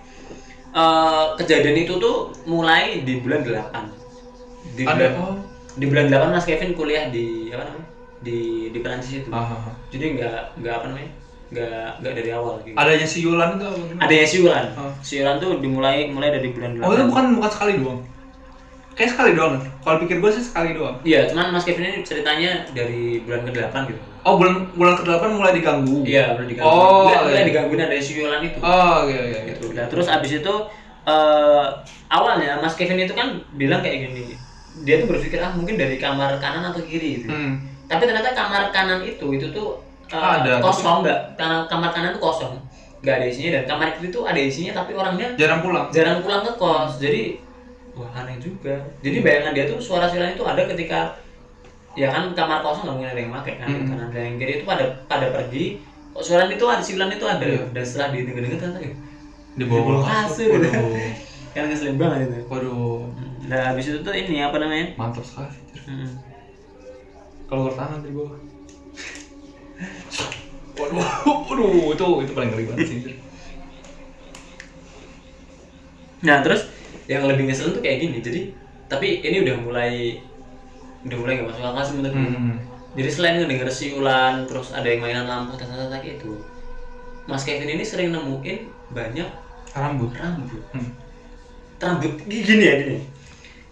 A: Eh, kejadian itu tuh mulai di bulan 8. Di
C: ada
A: bulan,
C: oh
A: di bulan 8 Mas Kevin kuliah di apa namanya? Di di Perancis itu.
C: Ah, ah, ah.
A: Jadi nggak nggak apa namanya? nggak nggak dari awal gitu.
C: adanya si Yulan itu apa gimana?
A: Adanya siuran.
C: Ah.
A: Siuran tuh dimulai mulai dari bulan 8.
C: Oh itu bukan bukan sekali doang. Kayak sekali doang. kan? Kalau pikir gue sih sekali doang.
A: Iya, cuman Mas Kevin ini ceritanya dari bulan ke-8 gitu.
C: Oh bulan bulan ke 8 mulai diganggu.
A: Iya, mulai diganggu.
C: Oh,
A: mulai, mulai
C: iya.
A: digangguin ada siuran itu.
C: Oh iya iya. iya.
A: gitu. Nah, terus abis itu eh, awalnya Mas Kevin itu kan bilang kayak gini, dia tuh berpikir ah mungkin dari kamar kanan atau kiri gitu.
C: Hmm. Ah,
A: Tapi ternyata kamar kanan itu itu tuh eh,
C: Ada.
A: kosong nggak? Karena kamar kanan tuh kosong, nggak ada isinya dan kamar kiri tuh ada isinya tapi orangnya
C: Jarang pulang.
A: jarang pulang ke kos. Jadi wah aneh juga. Jadi bayangan dia tuh suara siulan itu ada ketika ya kan kamar kosong nggak mungkin ada yang pakai kan
C: Hmm.
A: kanan dan yang kiri itu pada pada pergi kok suara itu ada siulan itu ada
C: Iya.
A: dan setelah didengar-dengar ternyata ya,
C: Di
A: bawah
C: bawah
A: kasur.
C: kasur. Waduh.
A: kan ngeselin banget itu
C: Waduh.
A: Nah, habis itu tuh ini apa namanya?
C: Mantap sekali. Jer.
A: Hmm.
C: Kalau tangan di bawah. Waduh, waduh, itu itu paling ngeri banget sih. Jer.
A: Nah, terus yang lebih ngeselin tuh kayak gini. Jadi, tapi ini udah mulai udah mulai gak masuk akal sih menurut gue.
C: Hmm.
A: Jadi selain ngedenger siulan, terus ada yang mainan lampu tetek-tetek itu. gitu, Mas Kevin ini sering nemuin banyak
C: Rambut.
A: rambut.
C: Hmm.
A: Rambut gini ya gini.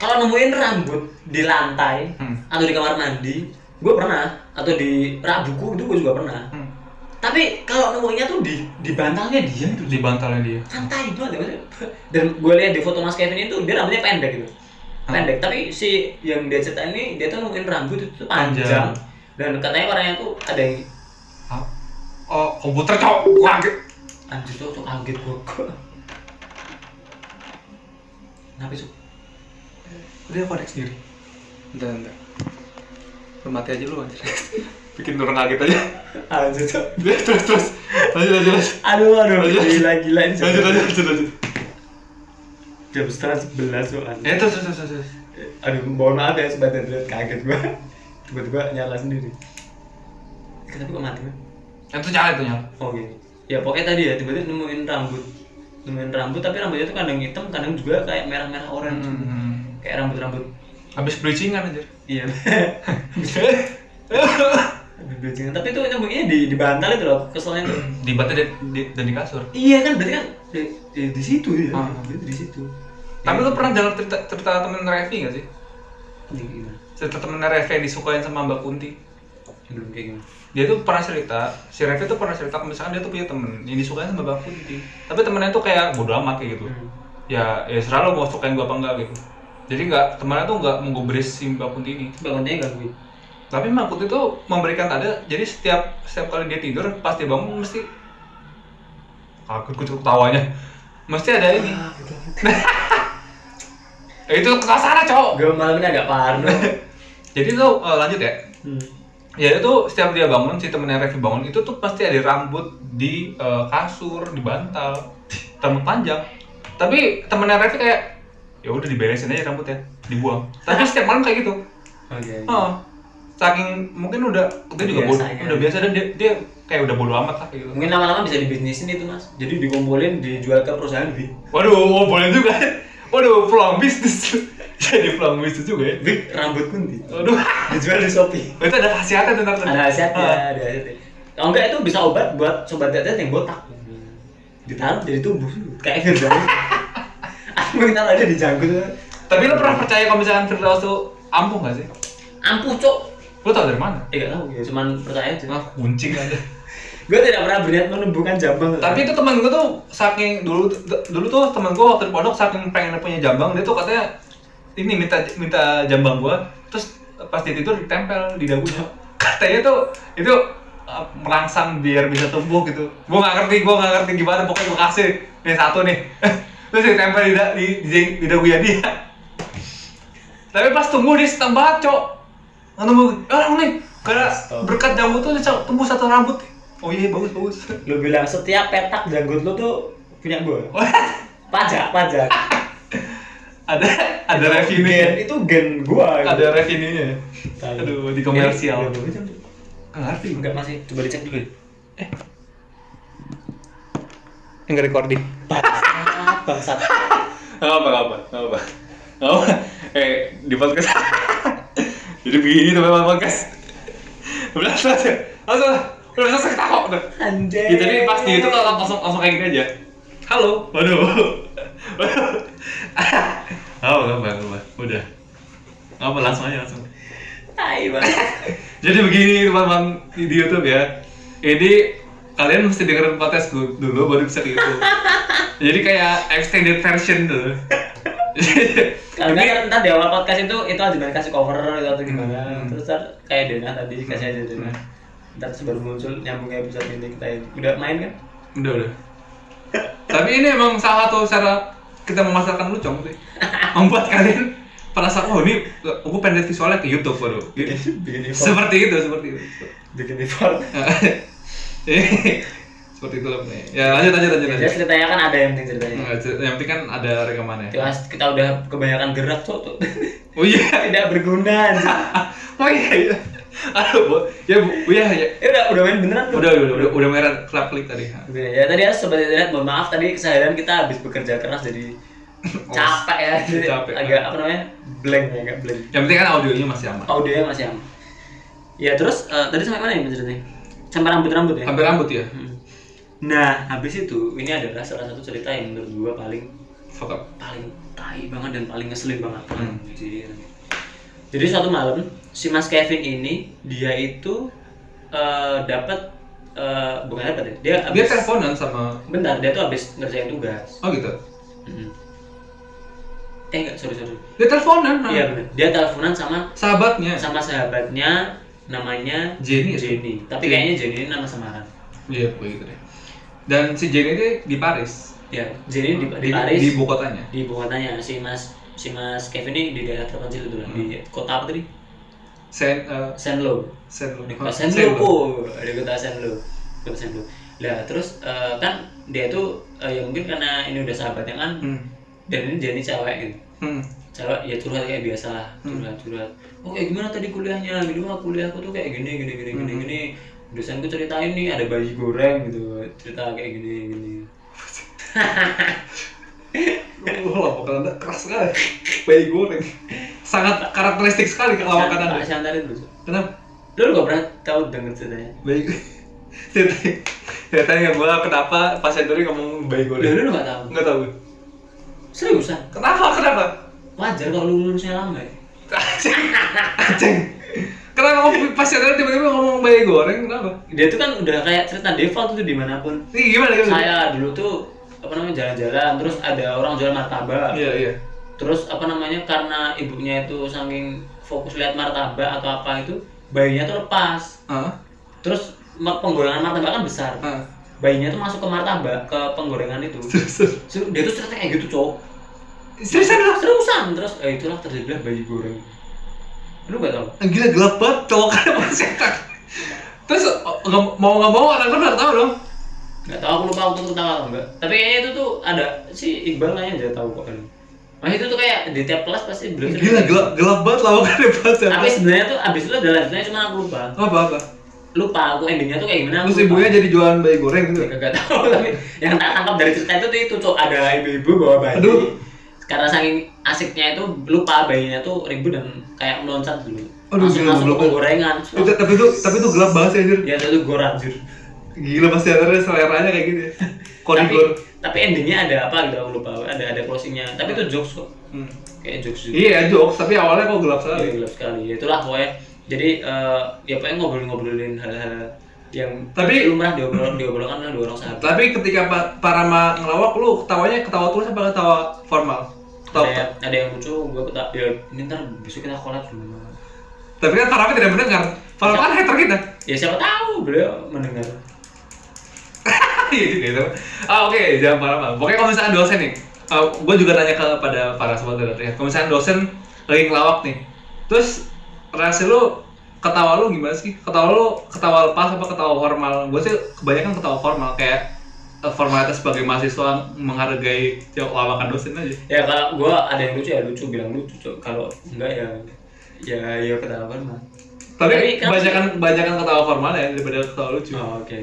A: Kalau nemuin rambut di lantai
C: Hmm.
A: atau di kamar mandi, gue pernah atau di rak buku itu gue juga pernah.
C: Hmm.
A: Tapi kalau nemuinnya tuh di di bantalnya dia itu.
C: Di bantalnya dia.
A: santai banget ya maksudnya. dan gue lihat di foto mas Kevin itu dia rambutnya pendek gitu
C: Hah?
A: pendek tapi si yang dia cerita ini dia tuh nemuin rambut itu tuh panjang,
C: Panjang.
A: dan katanya orangnya tuh ada yang
C: Ah. Oh, komputer cok. Gua kaget.
A: anjir tuh tuh kaget gue kenapa sih
C: Udah aku ada sendiri. Bentar, bentar. Lu mati aja lu anjir. Bikin orang kaget aja.
A: anjir tuh
C: Udah, terus terus. Lanjut lanjut lanjut.
A: aduh aduh
C: Lanjut.
A: gila gila ini
C: Lanjut lanjut lanjut. lanjut.
A: jam setengah sebelas soalnya
C: Eh terus terus terus. terus.
A: aduh mohon maaf ya sobat internet kaget gue tiba-tiba nyala sendiri kenapa kok mati Bang?
C: Yang tuh nyala itu nyala.
A: Oh gitu. Ya pokoknya tadi ya tiba-tiba nemuin rambut, nemuin rambut tapi rambutnya tuh kadang hitam, kadang juga kayak merah-merah orange, gitu.
C: Hmm.
A: kayak rambut-rambut.
C: Habis bleachingan anjir.
A: Iya. Bajingan. tapi itu nemuinnya di di bantal itu loh, keselnya tuh.
C: di bantal dan di, dan di kasur.
A: iya kan berarti kan di, di, di situ ya,
C: Ah.
A: Berarti di situ.
C: Tapi lu pernah dengar cerita cerita temen Revi gak sih?
A: Ini gimana?
C: Cerita temen Revi yang disukain sama Mbak Kunti.
A: Belum kayak gimana?
C: Dia tuh pernah cerita, si Revi tuh pernah cerita kalau misalkan dia tuh punya temen yang disukain sama Mbak Kunti. Tapi temennya tuh kayak bodo amat kayak gitu.
A: Hmm.
C: ya ya serah lo mau sukain gue apa enggak gitu jadi nggak temannya tuh nggak menggubris si mbak Kunti ini
A: Bangunnya gangguin.
C: tapi mbak Kunti tuh memberikan tanda jadi setiap setiap kali dia tidur pas dia bangun mesti kaget gue tawanya mesti ada ini
A: Ah,
C: Ya, itu kesasar cowok
A: Gue malam ini agak parno.
C: jadi tuh eh, lanjut ya
A: Hmm.
C: ya itu setiap dia bangun si temennya Revi bangun itu tuh pasti ada rambut di eh, kasur di bantal rambut panjang tapi temennya Revi kayak ya udah diberesin aja rambutnya dibuang tapi setiap malam kayak gitu
A: iya,
C: oh, saking mungkin udah dia juga bodoh
A: Biasanya.
C: udah biasa dan dia, dia kayak udah bodoh amat lah kayak gitu
A: Mungkin lama-lama bisa dibisnisin itu mas. Jadi dikumpulin dijual ke perusahaan big,
C: waduh oh, boleh juga waduh peluang bisnis jadi peluang bisnis juga ya
A: big rambut kunti.
C: waduh
A: Dijual di Shopee.
C: itu ada khasiatnya tuh ntar tuh.
A: Ada khasiatnya,
C: Ah.
A: ada khasiatnya. Kalau enggak itu bisa obat buat sobat tetet yang botak. Ditaruh jadi tubuh kayak gitu. Aku minta ada di janggut.
C: tapi lo pernah percaya kalau misalkan Firdaus tuh ampuh gak sih
A: Ampuh cok.
C: lo tau dari mana
A: Eh gak tahu, cuman percaya aja.
C: Nah, kuncing aja.
A: Gue tidak pernah berniat menumbuhkan jambang.
C: Tapi itu temen gue tuh saking dulu dulu tuh temen gue waktu di pondok saking pengen punya jambang dia tuh katanya ini minta minta jambang gue terus pas dia tidur ditempel di dagunya. Katanya tuh itu uh, merangsang biar bisa tumbuh gitu. Gue nggak ngerti, gue nggak ngerti gimana pokoknya gue kasih nih satu nih. terus ditempel di, da- di, di, di dagunya dia. Tapi pas tumbuh dia setengah banget, cok. Nggak Tumbuh, orang nih karena
A: Astaga.
C: berkat jambu tuh cok, tumbuh satu rambut. Oh iya bagus bagus.
A: lu bilang setiap petak janggut lu tuh punya gue.
C: Wah,
A: Pajak, pajak.
C: Ah. ada ada
A: gen,
C: revenue
A: itu gen gua.
C: ada revenue Iya, nya
A: Tahu. Iya, gitu.
C: aduh di komersial
A: Ini udah jam-
C: nggak ngerti
A: Enggak masih, coba dicek dulu.
C: nggak recording
A: Bangsat, bangsat.
C: nggak apa nggak apa nggak apa nggak apa eh di podcast jadi begini tuh memang podcast udah selesai langsung lah. udah selesai kita kok udah
A: Anjay.
C: Ya, tapi pas di itu kalau langsung langsung kayak gini aja. Halo. Waduh. Waduh. Halo, nggak apa, nggak apa. Udah. Nggak apa, langsung aja langsung.
A: Tai banget.
C: Jadi begini teman-teman di di YouTube ya. Ini kalian mesti dengerin podcast gue dulu baru bisa ke YouTube. Jadi kayak extended version tuh.
A: Kalau nggak kan ntar di awal podcast itu itu aja banget kasih cover gitu atau gimana.
C: Hmm.
A: Terus ntar kayak Dena tadi dikasih aja Dena. Ntar baru muncul nyambung kayak episode ini kita ini. udah main kan?
C: udah udah. Tapi ini emang salah satu cara kita memasarkan lucong sih. Membuat kalian merasa oh ini aku pengen lihat visualnya ke YouTube waduh. Gitu.
A: bikin effort,
C: seperti itu seperti itu Nah,
A: bikin effort.
C: seperti itu lah Bang. ya lanjut lanjut lanjut
A: Jadi
C: lanjut
A: ceritanya kan ada yang penting ceritanya.
C: Nggak, cer- yang penting kan ada rekamannya
A: Kita, kita udah kebanyakan gerak tuh, tuh.
C: oh iya
A: tidak berguna. anjing.
C: oh iya iya aduh bu ya bu Bu, ya, ya.
A: Ya udah udah main beneran tuh.
C: udah udah udah udah merah kelap klik tadi
A: Oke, Ya tadi ya sobat internet mohon maaf tadi keseharian kita habis bekerja keras jadi capek ya jadi
C: Capek.
A: agak apa namanya blank ya agak blank
C: yang penting kan audionya masih aman
A: audionya masih aman ya terus eh, tadi sampai mana ya Mas Rene? sampai rambut rambut ya
C: sampai rambut ya
A: Hmm. nah habis itu ini adalah salah satu cerita yang menurut gua paling
C: fuck up
A: paling tai banget dan paling ngeselin banget
C: Hmm.
A: Anjir. jadi suatu malam si Mas Kevin ini dia itu eh, dapat eh, bukan dapat ya dia
C: dia
A: habis
C: teleponan sama
A: bentar dia tuh habis ngerjain tugas
C: oh gitu
A: Mm. eh enggak sorry sorry
C: dia teleponan nah.
A: iya benar dia teleponan sama
C: sahabatnya
A: sama sahabatnya namanya
C: Jenny ya?
A: Jenny tapi
C: Jenny.
A: kayaknya Jenny ini nama samaran
C: iya gue gitu deh dan si Jenny ini di Paris
A: ya Jenny di, di Paris
C: di
A: di,
C: ibu kotanya
A: ibu kotanya si Mas si Mas Kevin ini di daerah terpencil itu lah di kota apa tadi
C: Sen eh,
A: Senlo
C: Sen
A: di kota Senlo oh, di kota Senlo di kota Senlo lah terus eh, kan dia tuh eh, ya mungkin karena ini udah sahabatnya kan
C: Hmm.
A: dan ini Jenny cewek gitu
C: Hmm.
A: cewek ya curhat kayak biasa lah curhat curhat oh kayak gimana tadi kuliahnya gitu mah kuliahku tuh kayak gini gini gini gini gini dosenku ceritain nih ada bayi goreng gitu cerita kayak gini gini
C: Wah, lawakan Anda keras sekali. Bayi goreng. Sangat karakteristik sekali ke lawakan Anda.
A: Saya antarin dulu Cuk.
C: Kenapa?
A: lu gak pernah tahu denger ceritanya
C: Bayi goreng. Ceritanya gue kenapa pas Hendry ngomong bayi
A: lu
C: goreng.
A: lu gak tahu
C: Enggak tahu. gue.
A: seriusan
C: Kenapa? Kenapa?
A: wajar kalau lu lulusnya lama ya
C: Aceng. Aceng. Kenapa ngomong pas Hendry tiba-tiba ngomong bayi goreng? Kenapa?
A: dia tuh kan udah kayak cerita default tuh dimanapun
C: Ini gimana gimana?
A: saya dulu tuh apa namanya jalan-jalan terus ada orang jual martabak
C: Iya, iya.
A: terus apa namanya karena ibunya itu saking fokus lihat martabak atau apa itu bayinya tuh lepas
C: Hah?
A: terus ma- penggorengan martabak kan besar
C: Hah?
A: bayinya tuh masuk ke martabak ke penggorengan itu
C: Seriusan?
A: Seru- dia tuh cerita kayak gitu cowok
C: Seriusan lah.
A: terusan terus eh, itulah terjadilah bayi goreng lu gak tau
C: Ah, Gila gelap banget lawakan pas Hendry. Terus oh, nggak- mau nggak mau anak anak tahu dong.
A: gak tau aku lupa waktu itu ketawa atau enggak tapi kayaknya itu tuh ada si Iqbal kayaknya aja tahu kok kan Mas itu tuh kayak di tiap kelas pasti beliau
C: Gila, gelap, gelap banget lawakan debat ya.
A: Tapi sebenarnya tuh abis itu ada lanjutannya cuma aku lupa.
C: Apa-apa?
A: Lupa aku endingnya tuh kayak gimana? aku
C: Terus
A: lupa.
C: ibunya jadi jualan bayi goreng gitu.
A: Gak tau tapi yang tak tangkap dari cerita itu tuh itu cok ada ibu-ibu bawa bayi.
C: Aduh.
A: Karena saking asiknya itu lupa bayinya tuh ribut dan kayak meloncat dulu.
C: Aduh,
A: langsung
C: gila,
A: masuk ke
C: goblok.
A: penggorengan.
C: Itu, tapi itu tapi itu gelap banget sih anjir.
A: Ya itu goran anjir.
C: Gila pasti ada seleranya kayak gitu ya.
A: Tapi
C: Koridor.
A: tapi endingnya ada apa gitu aku lupa. Ada ada closingnya. Tapi itu jokes kok.
C: Hmm.
A: Kayak jokes juga.
C: Iya, jokes, tapi awalnya kok gelap sekali.
A: Iya, gelap sekali. Ya, itulah pokoknya. Jadi eh, ya pokoknya ngobrol-ngobrolin hal-hal yang
C: Tapi-
A: lumrah diobrol diobrolkan oleh dua orang sahabat.
C: Tapi ketika pa para ma ngelawak lu ketawanya ketawa tulus apa ketawa formal? Ketawa.
A: Ada, ada yang lucu, gue kata ya ini ntar besok kita collab dulu.
C: Tapi kan Farah tidak mendengar. Farah kan hater kita.
A: Ya siapa tahu beliau mendengar.
C: Iya juga itu. Ah oke, jangan parah mal. Pokoknya kalau misalnya dosen nih, gue juga tanya kepada para sahabat ya. Kalau misalnya dosen lagi ngelawak nih, terus reaksi lu ketawa lu gimana sih? Ketawa lu ketawa lepas apa ketawa formal? Gue sih kebanyakan ketawa formal kayak eh, formalitas sebagai mahasiswa menghargai jawab lawakan dosen aja.
A: Ya kalau gue ada yang lucu ya lucu bilang lucu Cok. Kalau enggak ya ya ya ketahuan mah. Tapi
C: Tapi
A: kenapa
C: kebanyakan kebanyakan ketawa formal ya daripada ketawa lucu.
A: Oh, oke. oke.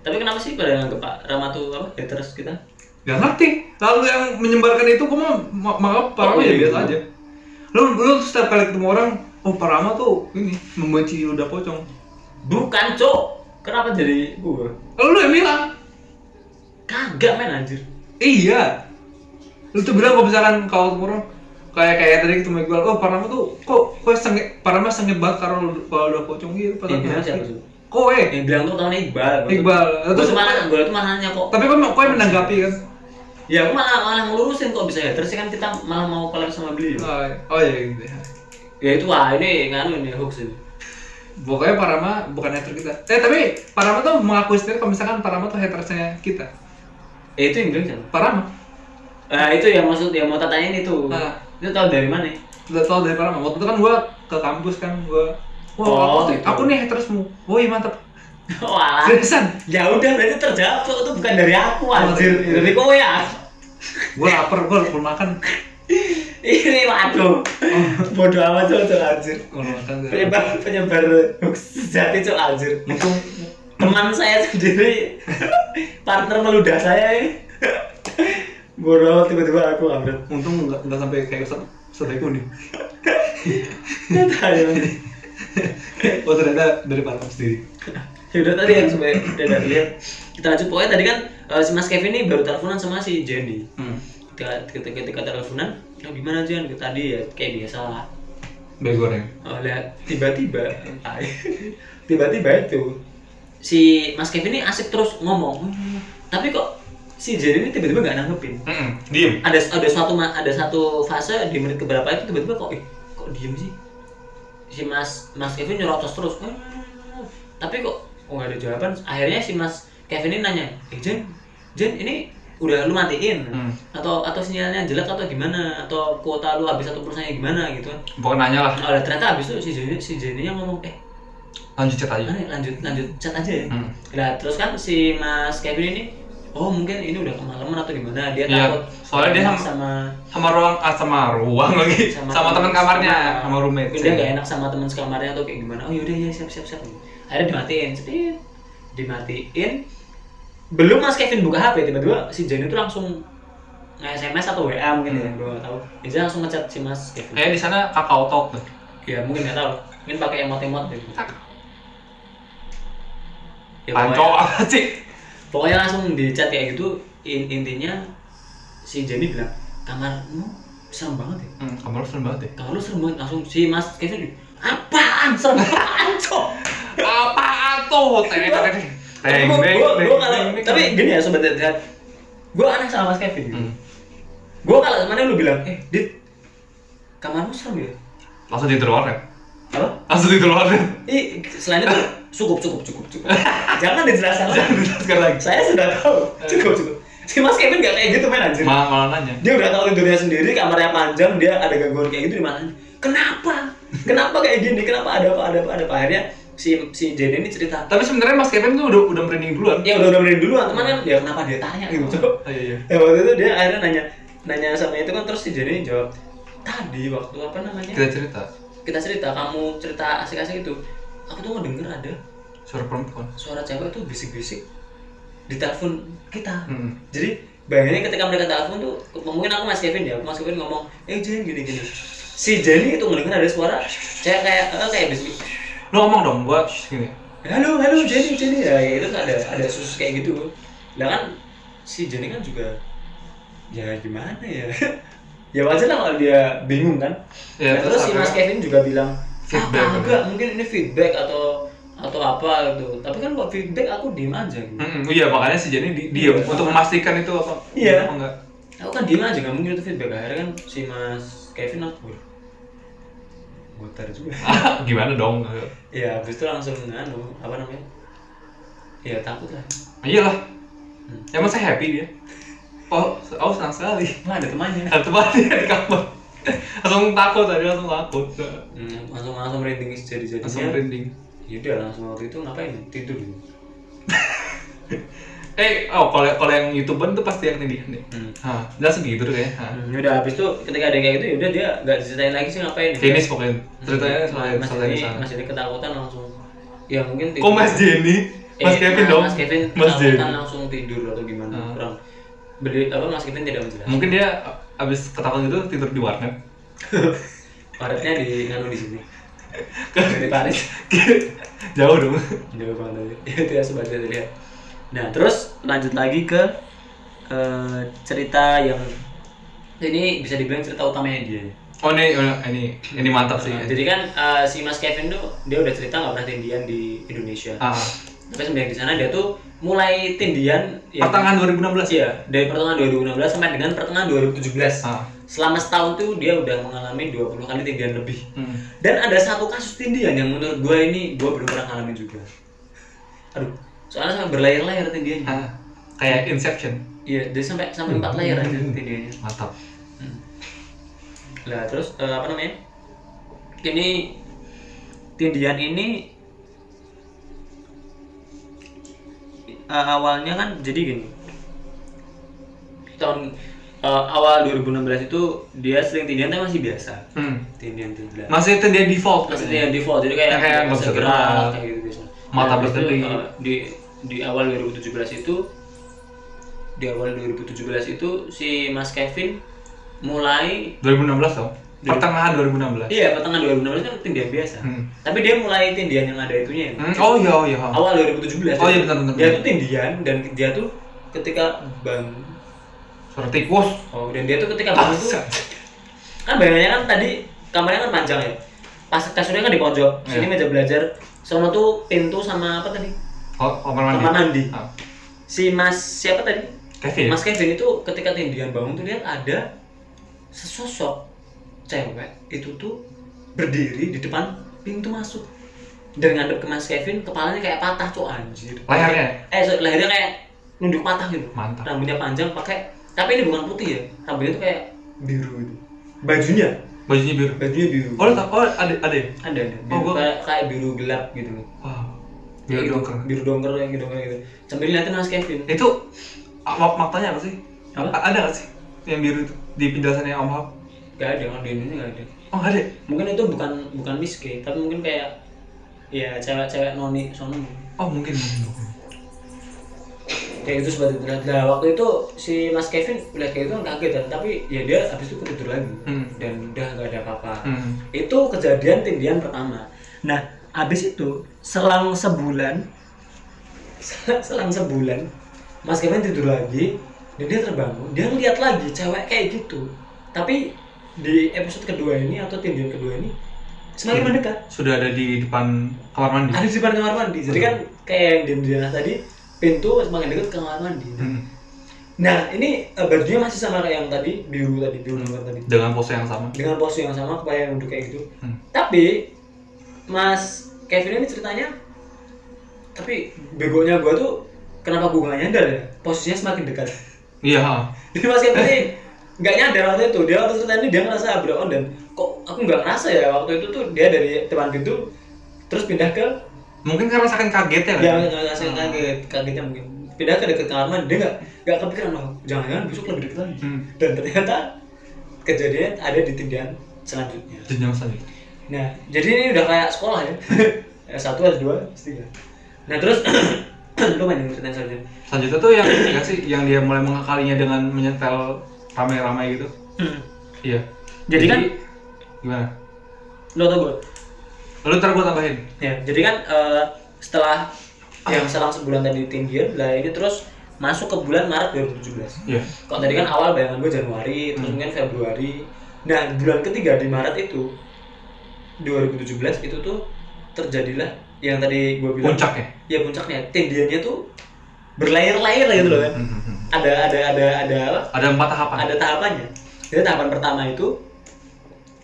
A: Tapi kenapa sih pada nganggep Pak Rama tuh apa haters kita?
C: Gak ngerti. Lalu yang menyebarkan itu kok mau ma- malah
A: Oh,
C: Parama
A: iya,
C: ya biasa
A: iya.
C: aja. Lu lu setiap kali ketemu orang, oh Parama tuh ini membenci udah pocong.
A: Bukan cok. Kenapa jadi gue?
C: Lalu lu yang bilang,
A: Kagak men anjir.
C: iya. Lu tuh bilang kalau misalkan kalau ketemu orang kayak kayak tadi ketemu gue, oh Parama tuh kok kok sengit Parama sengit banget karena lu- kalau udah pocong gitu pas
A: Yang
C: aku eh."
A: bilang
C: ngerti.
A: Iya, siapa sih?
C: Kowe.
A: Yang bilang tuh tahun Iqbal. Gua tuh-
C: Iqbal.
A: Gue
C: Terus
A: tuh malah gue tuh malahnya kok.
C: tapi kok kok yang menanggapi kan?
A: Ya aku malah malah ngelurusin kok bisa haters sih kan kita malah mau collab sama beliau.
C: Oh, iya. oh iya gitu ya.
A: Ya itu wah ini nganu ini hoax ini.
C: Pokoknya Parama bukan hater kita. Eh tapi Parama tuh mengakui sendiri kalau misalkan Parama tuh hatersnya kita.
A: Ya itu yang bilang siapa?
C: Parama.
A: Nah itu yang maksud yang mau tanyain itu.
C: Ah.
A: Itu tahu dari mana?
C: Udah tau dari Parama. Waktu itu kan gua ke kampus kan gua Wah,
A: Oh,
C: aku, tuh-
A: gitu.
C: aku nih oh hatersmu. Woi, mantap. Ah.
A: Walah.
C: Seriusan.
A: Ya udah berarti terjawab tuh itu bukan dari aku anjir.
C: iya.
A: Dari kowe ya.
C: Gua lapar, gua perlu makan.
A: Ini waduh. Bodoh amat tuh tuh anjir.
C: Gua perlu makan.
A: Penyebar penyebar hoax sejati tuh anjir.
C: Untung
A: Teman saya sendiri partner meludah saya ini. Bodoh tiba-tiba aku ambil.
C: untung enggak enggak sampai kayak Ustaz Ustaz Eko nih.
A: ya
C: Oh, ternyata dari Parama sendiri.
A: Ya udah tadi yang sebenarnya udah dari lihat kita lanjut pokoknya tadi kan eh, si Mas Kevin ini baru teleponan sama si Jenny
C: Hmm.
A: ketika ketika, ketika teleponan oh, gimana Jen Gitu, tadi ya kayak biasa lah
C: Bayi goreng.
A: oh, lihat tiba-tiba tiba-tiba itu si Mas Kevin ini asik terus ngomong tapi kok si Jenny ini tiba-tiba nggak nanggepin
C: Hmm,
D: Diem.
A: ada ada suatu ma- ada satu fase di menit keberapa itu tiba-tiba kok ih, kok diem sih si mas mas Kevin nyerocos terus "Eh, eh, eh, eh." tapi kok kok nggak ada jawaban akhirnya si mas Kevin ini nanya eh Jen Jen ini udah lu matiin
C: Hmm.
A: atau atau sinyalnya jelek atau gimana atau kuota lu habis satu persennya gimana gitu kan
C: Pokoknya nanya lah,
A: Nah, ternyata habis itu si Jenny si Jenny ngomong eh
C: lanjut chat aja.
A: aneh lanjut lanjut chat aja ya
C: Hmm.
A: Nah, terus kan si Mas Kevin ini, oh mungkin ini udah kemalaman atau gimana? Dia
C: Iya,
A: takut
C: soalnya dia sama-
A: sama
C: Sama ruang ah, sama ruang lagi. Sama, teman kamarnya, sama roommate. Iya.
A: Dia nggak enak sama teman sekamarnya atau kayak gimana? Oh yaudah ya siap siap siap. Akhirnya dimatiin, sedih, dimatiin. Belum Mas Kevin buka HP tiba-tiba si Jenny itu langsung nge-SMS atau WA mungkin
C: Hmm.
A: ya, gue nggak tahu. Dia langsung ngechat si Mas Kevin.
C: Kayak di sana kakao talk tuh.
A: Ya mungkin nggak tahu, mungkin pakai emot-emot gitu. Ya,
C: Panco
A: pokoknya-
C: apa sih?
A: pokoknya langsung di chat kayak gitu in- intinya si Jenny bilang kamarmu serem banget ya
C: Hmm, kamar lu serem banget
A: kamar lu serem banget langsung si Mas Kevin apaan serem apaan cok
C: ya. Apaan tuh? Teng teng teng. Teng
A: Gua-
C: teng.
A: gua-
C: teng,
A: gua kalau
C: teng,
A: tapi
C: teng.
A: gini ya sobat Deadhead gue aneh sama Mas Kevin gitu.
C: Hmm.
A: gue kalau kemarin lu bilang eh dit kamarmu serem ya
C: langsung tidur warnet.
A: apa
C: Langsung tidur warnet.
A: Ih, selain itu cukup cukup cukup cukup jangan dijelaskan lagi
C: Jangan dijelaskan lagi.
A: saya sudah tahu cukup cukup si Mas Kevin gak kayak gitu main anjir
C: Malah malah nanya.
A: dia udah tahu tidurnya sendiri kamarnya panjang dia ada gangguan kayak gitu di mana kenapa kenapa kayak gini kenapa ada apa ada apa ada apa akhirnya si si Jenny ini cerita
C: Tapi sebenarnya Mas Kevin tuh udah udah merinding duluan.
A: ya udah udah dulu teman kan ya kenapa dia tanya gitu Cok?
C: Oh, Iya iya.
A: ya waktu itu dia akhirnya nanya nanya sama itu kan terus si Jenny jawab tadi waktu apa namanya
C: Kita cerita
A: kita cerita kamu cerita asik-asik itu aku tuh ngedenger ada
C: suara perempuan.
A: suara cewek tuh bisik-bisik di telepon kita
C: Hmm.
A: jadi bayangannya ketika mereka telepon tuh mungkin aku mas Kevin ya mas Kevin ngomong eh Jen gini gini si Jenny itu mendengar ada suara cewek kayak eh, kayak bisik
C: Lu ngomong dong, gua shh, gini.
A: halo halo Jenny Jenny ya ya, itu kan ada ada susus kayak gitu lah kan si Jenny kan juga ya gimana ya ya wajar lah kalau dia bingung kan
C: Ya,
A: Nah, terus si
C: akhirnya
A: Mas Kevin juga bilang
C: Feedback.
A: ah, enggak mungkin ini feedback atau atau apa gitu tapi kan kalau feedback aku diem aja gitu.
C: Mm-mm, iya makanya si Jenny di- diem
A: Iya.
C: untuk memastikan itu apa
A: Iya.
C: apa enggak
A: aku kan diem aja nggak mungkin itu feedback akhirnya kan si Mas Kevin aku gotar juga
C: Ah, gimana dong
A: ya habis itu langsung anu apa namanya ya takut lah
C: iyalah emang saya happy dia oh oh senang sekali
A: Wah, ada temannya
C: ada tempatnya di kamar langsung takut tadi langsung takut
A: Hmm, langsung langsung merinding sejadi
C: langsung
A: jadinya
C: merinding
A: yaudah langsung waktu itu ngapain tidur
C: eh oh kalau kalau yang youtuber tuh pasti yang tindihan deh
A: hmm.
C: Hah, jelas segitu tuh kayaknya Hah.
A: Hmm, udah habis itu ketika ada kayak gitu yaudah dia nggak diceritain lagi sih ngapain
C: finish pokoknya ceritanya soal
A: Hmm. Mas
C: soal
A: Jenny,
C: ini sana
A: Mas Jenny ketakutan langsung ya mungkin
C: kok Mas Jenny
A: Eh,
C: Mas Kevin
A: nah,
C: dong
A: Mas Kevin
C: Mas
A: ketakutan
C: Jenny
A: langsung tidur atau gimana
C: Ah.
A: kurang beli apa Mas Kevin tidak menjelaskan
C: mungkin dia eh, abis ketakutan itu tidur di warnet
A: paretnya di nganu di sini di Paris
C: jauh dong
A: jauh banget tadi itu ya sobat lihat lihat nah terus lanjut lagi ke eh, cerita yang ini bisa dibilang cerita utamanya dia ya.
C: oh ini ini ini mantap sih
A: Nah, jadi kan eh, si Mas Kevin tuh dia udah cerita nggak pernah tindian di Indonesia
C: Ah,
A: tapi semenjak di sana dia tuh mulai tindian ya,
C: pertengahan 2016 ya?
A: Iya, dari pertengahan 2016 sampai dengan pertengahan 2017.
C: Ah.
A: Selama setahun tuh dia udah mengalami 20 kali tindian lebih.
C: Hmm.
A: Dan ada satu kasus tindian yang menurut gue ini gue belum pernah ngalamin juga. Aduh, soalnya sampai berlayar-layar tindiannya.
C: Ah, kayak Inception.
A: Iya, dia sampai sampai empat layar aja tindiannya. Hmm.
C: Mantap.
A: Lah terus eh, apa namanya? Ini tindian ini eh, awalnya kan jadi gini. Tahun eh, awal 2016 itu dia sering tindian tapi masih biasa.
C: Hmm.
A: Tindian tindian.
C: Masih itu dia default.
A: Masih
C: katanya.
A: tindian default jadi kayak
C: Yang kayak nggak bisa gerak,
A: kayak gitu biasa.
C: mata
A: habis itu,
C: berkedip.
A: eh, di di awal 2017 itu di awal 2017 itu si Mas Kevin mulai
C: 2016 dong. Pertengahan 2016.
A: Iya, pertengahan 2016 kan tindian biasa.
C: Hmm.
A: Tapi dia mulai tindian yang ada itunya. ya.
C: Hmm, Oh iya, oh iya. Oh.
A: Awal 2017.
C: Oh, iya,
A: dia-
C: bentar, bentar,
A: Dia
C: bentar.
A: tuh tindian dan dia tuh ketika bang
C: Suara tikus.
A: Oh, dan dia tuh ketika bangun tuh
C: Bangsat.
A: kan bayangannya kan tadi kamarnya kan panjang ya. Pas kasurnya kan di pojok, sini
C: Iya.
A: meja belajar, sono tuh pintu sama apa tadi?
C: Oh, kamar mandi.
A: Kamar mandi.
C: Ah. ya?
A: Si Mas siapa tadi?
C: Kevin.
A: Mas Kevin itu ketika tindian bangun tuh lihat ada sesosok cewek itu tuh berdiri di depan pintu masuk dan ngadep ke Mas Kevin kepalanya kayak patah tuh anjir
C: Layarnya.
A: eh sorry, lehernya kayak nunduk patah gitu
C: Mantap.
A: rambutnya panjang pakai tapi ini bukan putih ya rambutnya tuh kayak biru gitu bajunya
C: Bajunya biru.
A: bajunya biru
C: Oh, lu tau? Oh, ada ada. ya?
A: ada ada
C: Oh,
A: biru,
C: gua-
A: kayak, kayak biru gelap gitu
C: Wow.
A: Kayak
C: Biru
A: gitu,
C: dongker. Eh,
A: biru dongker yang gitu gitu sambil liatin Mas Kevin
C: Itu awap matanya apa sih?
A: Apa?
C: A- Ada nggak sih yang biru itu di penjelasannya Om Hap?
A: gak ada kan di Indonesia gak ada
C: Oh, nggak ada.
A: mungkin itu bukan bukan miskin tapi mungkin kayak ya cewek-cewek noni sono
C: Oh, mungkin.
A: kayak gitu seperti itu nah waktu itu si mas Kevin lihat kayak gitu kan kaget kan tapi ya dia habis itu ketidur lagi
C: Hmm.
A: dan udah nggak ada apa-apa
C: Hmm.
A: itu kejadian tindian pertama nah habis itu selang sebulan sel- selang sebulan mas Kevin tidur lagi dan dia terbangun dia ngeliat lagi cewek kayak gitu tapi di episode kedua ini atau tindian kedua ini semakin
C: Hmm.
A: mendekat
C: Sudah ada di depan kamar mandi.
A: ada di depan kamar mandi jadi kan kayak yang di Indiana tadi pintu semakin dekat ke kamar mandi
C: Hmm.
A: nah ini eh, bajunya masih sama kayak yang tadi biru tadi biru nomor tadi
C: Dengan pose yang sama.
A: dengan pose yang sama kepala yang duduk kayak gitu
C: Hmm.
A: tapi mas Kevin ini ceritanya tapi begonya gua tuh kenapa gua gak nyadar ya posisinya semakin dekat
C: Iya. ha.
A: jadi mas Kevin ini nggak nyadar waktu itu dia waktu cerita ini dia ngerasa beron dan kok aku nggak ngerasa ya waktu itu tuh dia dari depan pintu terus pindah ke
C: Mungkin karena saking kagetnya kan.
A: Iya,
C: nah.
A: Ya, nggak nggak saya kaget, kagetnya mungkin. pindah ke dekat kamar mandi dia nggak nggak kepikiran loh jangan-jangan besok lebih dekat lagi
C: Hmm.
A: dan ternyata kejadian ada di tindakan selanjutnya
C: jenjang selanjutnya
A: Nah, jadi ini udah kayak sekolah ya. S1, S2, S3. Nah, terus lu main yang cerita selanjutnya.
C: selanjutnya tuh yang ini nggak sih yang dia mulai mengakalinya dengan menyetel ramai-ramai gitu iya
A: Jadi kan-
C: gimana
A: Lu tau gue?
C: lalu ntar gue tambahin
A: Ya, jadi kan eh, setelah yang selang sebulan tadi tinggi, lah ini terus masuk ke bulan Maret 2017.
C: iya
A: Kalau tadi kan awal bayangan gue Januari, terus
C: Hmm.
A: mungkin Februari. Nah, bulan ketiga di Maret itu 2017 itu tuh terjadilah yang tadi gue bilang
C: puncak ya
A: ya puncaknya tindiannya tuh berlayer-layer lah gitu loh kan
C: Hmm, hmm, hmm.
A: ada ada ada ada apa?
C: ada empat tahapan
A: ada tahapannya jadi tahapan pertama itu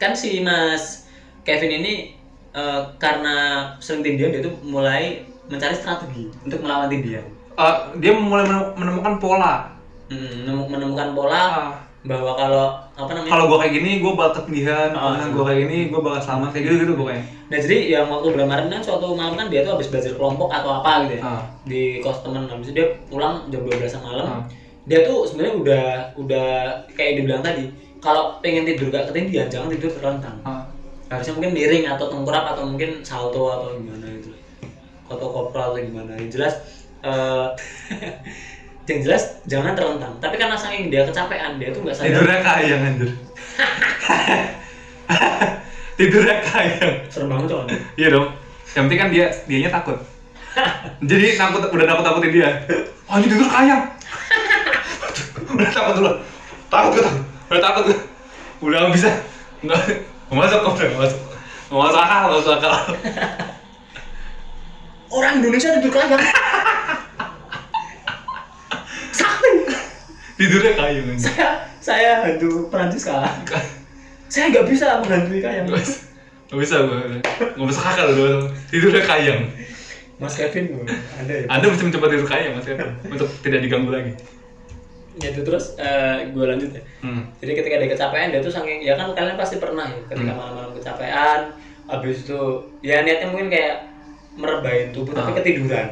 A: kan si mas Kevin ini eh, karena sering tindian dia tuh mulai mencari strategi untuk melawan tindian
C: Eh, dia mulai menem- menemukan pola
A: Hmm, menem- menemukan pola
C: Ah,
A: bahwa kalau apa namanya
C: kalau gue kayak gini gue bakal ketindihan
A: Ah.
C: kalau gue kayak gini gue bakal selamat kayak gitu gitu pokoknya
A: nah jadi yang waktu bulan Maret kan suatu malam kan dia tuh habis belajar kelompok atau apa gitu ya
C: Ah.
A: di kos temen habis itu dia pulang jam 12 malam
C: Ah.
A: dia tuh sebenarnya udah udah kayak dibilang tadi kalau pengen tidur gak ketindian jangan tidur terlentang
C: Ah.
A: harusnya mungkin miring atau tengkurap atau mungkin salto atau gimana gitu atau kopral atau gimana yang jelas eh, yang jelas jangan terlentang tapi karena saking dia kecapean dia tuh nggak sadar
C: tidurnya kayang anjir tidurnya kayang
A: serem banget coy
C: iya dong yang penting kan dia dianya takut jadi takut udah takut takutin dia oh ini tidur kayang udah takut dulu takut gue takut udah takut gue udah nggak bisa nggak nggak masuk udah nggak masuk nggak masuk akal nggak masuk akal
A: orang Indonesia tidur kelayang sakti
C: tidurnya kayang anjir
A: saya saya hantu Perancis kalah saya nggak bisa menghantui kayang
C: nggak bisa nggak bisa gue nggak masuk akal udah masuk. tidurnya kayang
A: Mas Kevin anda ya
C: anda mesti mencoba tidur kayang mas Kevin untuk tidak diganggu lagi
A: ya itu terus eh gue lanjut ya
C: hmm.
A: jadi ketika dia kecapean dia tuh saking ya kan kalian pasti pernah ya ketika
C: Hmm.
A: malam-malam kecapean habis itu ya niatnya mungkin kayak merebahin tubuh tapi
C: Ah.
A: ketiduran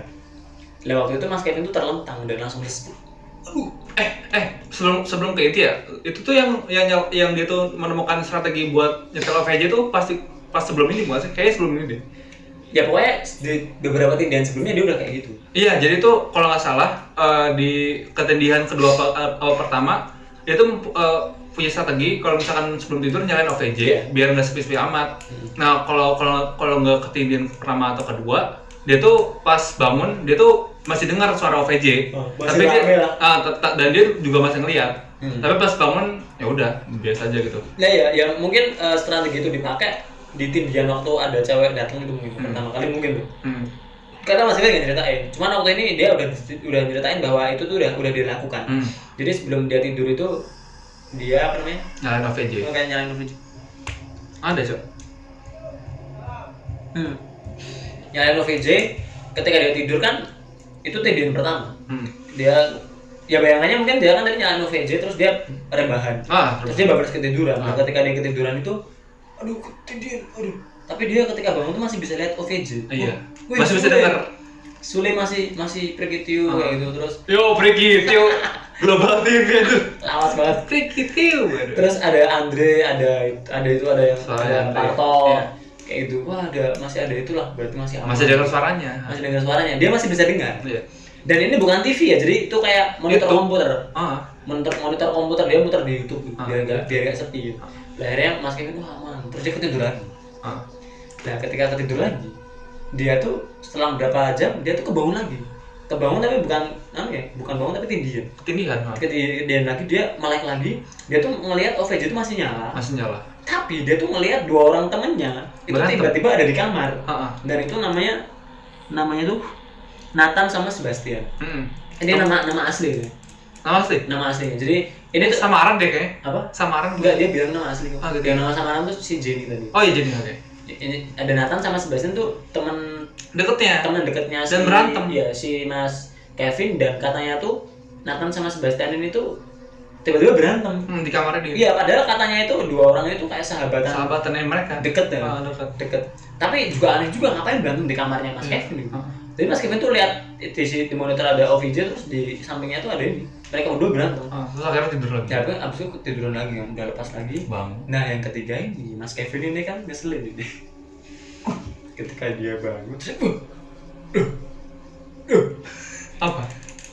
A: lah waktu itu Mas Kevin tuh terlentang dan langsung lesu
C: aduh
D: eh eh sebelum sebelum ke itu ya itu tuh yang yang nyel- yang dia tuh menemukan strategi buat nyetel OVJ tuh pasti pas sebelum ini bukan sih kayaknya sebelum ini deh
A: ya pokoknya di beberapa tindakan sebelumnya dia udah kayak gitu
D: iya jadi tuh kalau nggak salah eh, di ketindihan kedua pe- eh, awal pertama dia tuh eh, punya strategi kalau misalkan sebelum tidur nyalain OVJ
A: Iya.
D: biar nggak sepi-sepi amat
A: Hmm.
D: nah kalau kalau kalau nggak ketindihan pertama atau kedua dia tuh pas bangun dia tuh masih dengar suara OVJ
A: Oh, masih
D: tapi
A: rame
D: dia
A: lah.
D: ah, tet- tet- dan dia juga masih ngeliat
A: Hmm.
D: tapi pas bangun ya udah biasa aja gitu
A: Nah ya, yang mungkin eh, strategi itu dipakai di tindian waktu ada cewek datang itu mungkin
C: Hmm.
A: pertama kali mungkin tuh.
C: hmm.
A: Karena masih nggak ceritain. Cuman waktu ini dia udah udah ceritain bahwa itu tuh udah udah dilakukan.
C: hmm.
A: Jadi sebelum dia tidur itu dia apa namanya?
C: nyalain OVJ
A: Dia kayak nyalain OVJ.
C: ada cok
A: Hmm. Nyalain OVJ ketika dia tidur kan itu tindian pertama.
C: hmm.
A: Dia ya bayangannya mungkin dia kan tadi nyalain OVJ terus dia rebahan.
C: ah
A: terus dia bablas ketiduran nah,
C: Ah.
A: ketika dia ketiduran itu aduh ketiduran aduh tapi dia ketika bangun tuh masih bisa lihat OVJ
C: Iya.
A: Wih,
C: Masih bisa
A: Sule.
C: denger.
A: Sule masih masih prekitiu
C: Ah.
A: kayak gitu terus
C: Yo, Freaky Tio, Global TV aduh.
A: lawas banget
C: Freaky Tio. aduh.
A: terus ada Andre ada ada itu ada yang
C: Soalnya
A: ada
C: Andre.
A: Parto
C: Iya.
A: kayak gitu wah ada masih ada itulah berarti masih aman.
C: Masih dengar suaranya.
A: masih dengar suaranya dia masih bisa dengar
C: Iya.
A: dan ini bukan TV ya jadi itu kayak monitor
C: Itu.
A: komputer
C: Ah,
A: monitor monitor komputer dia muter di YouTube gitu,
C: Ah.
A: biar nggak biar nggak sepi gitu. Lah, akhirnya Mas Kevin wah aman terus dia ketiduran
C: ah.
A: Nah, ketika ketiduran lagi, dia tuh setelah berapa jam dia tuh kebangun lagi. Kebangun tapi bukan apa ya, bukan bangun tapi tindian.
C: Ketindihan ah.
A: Ketindian lagi dia melek lagi, dia tuh ngelihat OVJ itu masih nyala.
C: masih nyala.
A: Tapi dia tuh ngelihat dua orang temennya itu
C: Berantem.
A: tiba-tiba ada di kamar.
C: Ah, ah.
A: Dan itu namanya namanya tuh Nathan sama Sebastian.
C: Hmm.
A: Ini nama nama asli ya.
C: Nama sih.
A: Nama aslinya. Jadi ini tuh
C: Samaran deh kayaknya.
A: apa?
C: Samaran
A: Enggak dia bilang nama asli kok.
C: Ah, gitu.
A: Yang nama samaran tuh si Jenny tadi.
C: Oh iya jadi oke.
A: Ini ada Nathan sama Sebastian tuh temen
C: Deketnya.
A: teman dekatnya
C: Dan berantem.
A: ya si Mas Kevin dan katanya tuh Nathan sama Sebastian ini tuh tiba-tiba berantem
C: Hmm, di kamarnya dia.
A: iya padahal katanya itu dua orang itu kayak sahabatan
C: Sahabatannya mereka.
A: deket ya
C: Ah, deket.
A: deket tapi juga aneh juga ngapain berantem di kamarnya Mas Kevin gitu.
C: Ah.
A: Tapi Mas Kevin tuh lihat di, si- di monitor ada OVJ terus di sampingnya tuh ada ini. Mereka berdua berantem.
C: Ah, terus akhirnya tidur lagi
A: Tapi abis itu tiduran lagi, udah lepas lagi.
C: bang
A: Nah yang ketiga ini Mas Kevin ini kan ngeselin ini. Ketika dia bangun, terus, "Wah, duh, duh,
C: apa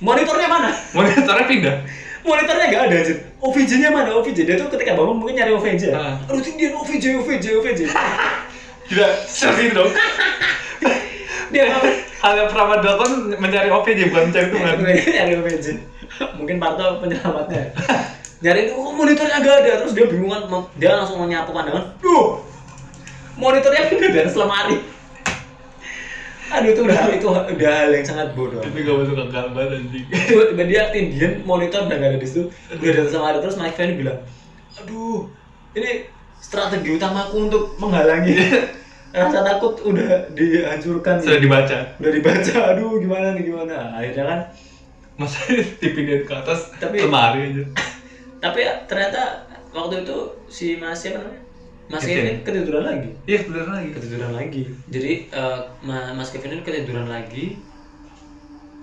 A: monitornya mana?
C: monitornya pindah
A: Monitornya nggak ada anjir. OVJ-nya mana? OVJ dia tuh ketika bangun mungkin nyari OVJ.
C: Ah.
A: Aduh tuh dia OVJ, OVJ, OVJ.
C: gila seperti itu dong
A: dia bangun.
C: hal yang pernah dilakukan mencari OVJ bukan mencari Tuhan
A: nyari OVJ. Mungkin Parto penyelamatnya. Nyari itu oh, monitornya nggak ada terus dia bingungan mem- dia langsung menyapu pandangan. Duh, monitornya pindah dari selemari. Aduh itu udah itu udah hal yang sangat bodoh.
C: itu gak masuk akal banget anjing
A: tiba-tiba dia tindian monitor udah gak ada di situ udah datang sama ada terus Mike Fanny bilang aduh ini strategi utamaku untuk menghalangi rasa takut udah dihancurkan
C: sudah dibaca
A: udah dibaca aduh gimana nih gimana akhirnya kan
C: masa dipindahin ke atas
A: Tapi-
C: lemari aja
A: tapi ya, ternyata waktu itu si Mas siapa namanya Mas
C: Kevin.
A: Kevin ketiduran lagi
C: iya bener lagi
A: ketiduran lagi jadi eh, Ma- Mas Kevin ini ketiduran lagi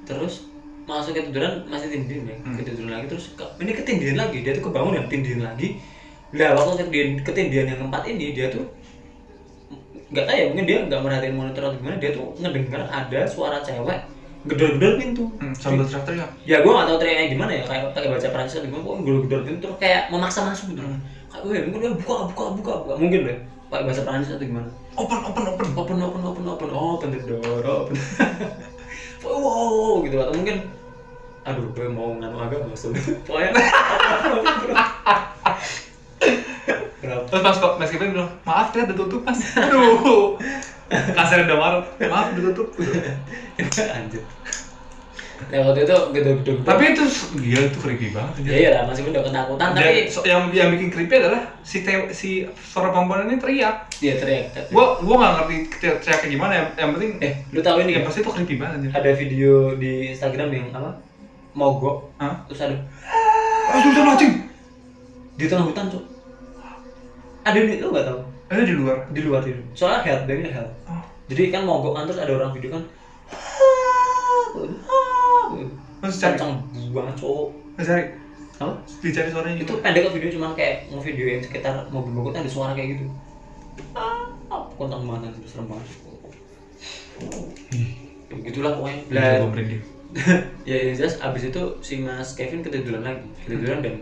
A: terus masuk ketiduran masih tindihin ya
C: Hmm.
A: ketiduran lagi terus ke- ini ketindihan lagi dia tuh kebangun dan tindihin lagi nah waktu ketindihan, ketindihan yang keempat ini dia tuh nggak tahu ya mungkin dia nggak merhatiin monitor atau gimana dia tuh ngedengar ada suara cewek gedor-gedor pintu
C: hmm, sambil teriak-teriak
A: ya gue gak tau teriaknya gimana ya kayak pakai bahasa Prancis atau gimana gue gedor gedor terus kayak memaksa masuk gitu kayak gue mungkin dia buka buka buka buka mungkin deh pakai bahasa Prancis atau gimana open open open open open open open open the door open wow, wow, wow, gitu atau mungkin aduh gue mau nganu agama sebenarnya pokoknya open, open, open, open. Berapa?
C: terus pas Mas Kevin bilang maaf ya udah tutup mas aduh kasar udah marah maaf udah tutup
A: ya? Anjir. Nah waktu itu gedor-gedor.
C: tapi itu gila itu creepy banget
A: ya
C: anjir.
A: iyalah masih udah ketakutan Nah, tapi
C: Dan so- yang yang bikin creepy adalah si te, si suara perempuan ini teriak.
A: dia teriak.
C: Gua gua nggak ngerti teriak- teriaknya gimana. Yang, yang penting eh
A: Eh, lu tahu ini
C: yang
A: ya?
C: pasti itu creepy banget anjir.
A: ada video di Instagram yang apa mogok
C: Hah?
A: terus ada
C: Ah, sudah anjing.
A: di tengah hutan cok ada di lu nggak tahu
C: Ada di luar.
A: di luar itu soalnya health bandnya health
C: Oh.
A: jadi kan mogok kan terus ada orang video kan
C: Terus cari,
A: kencang banget cowok
C: terus cari,
A: apa
C: dicari suaranya.
A: itu
C: Itu
A: pendek kok video cuman kayak ngevideoin sekitar mobil-mobil kan ada suara kayak gitu ah kencang banget itu serem banget Ya, begitulah pokoknya Lah,
C: Iya, Gua merinding.
A: ya yang jelas abis itu si Mas Kevin ketiduran lagi ketiduran dan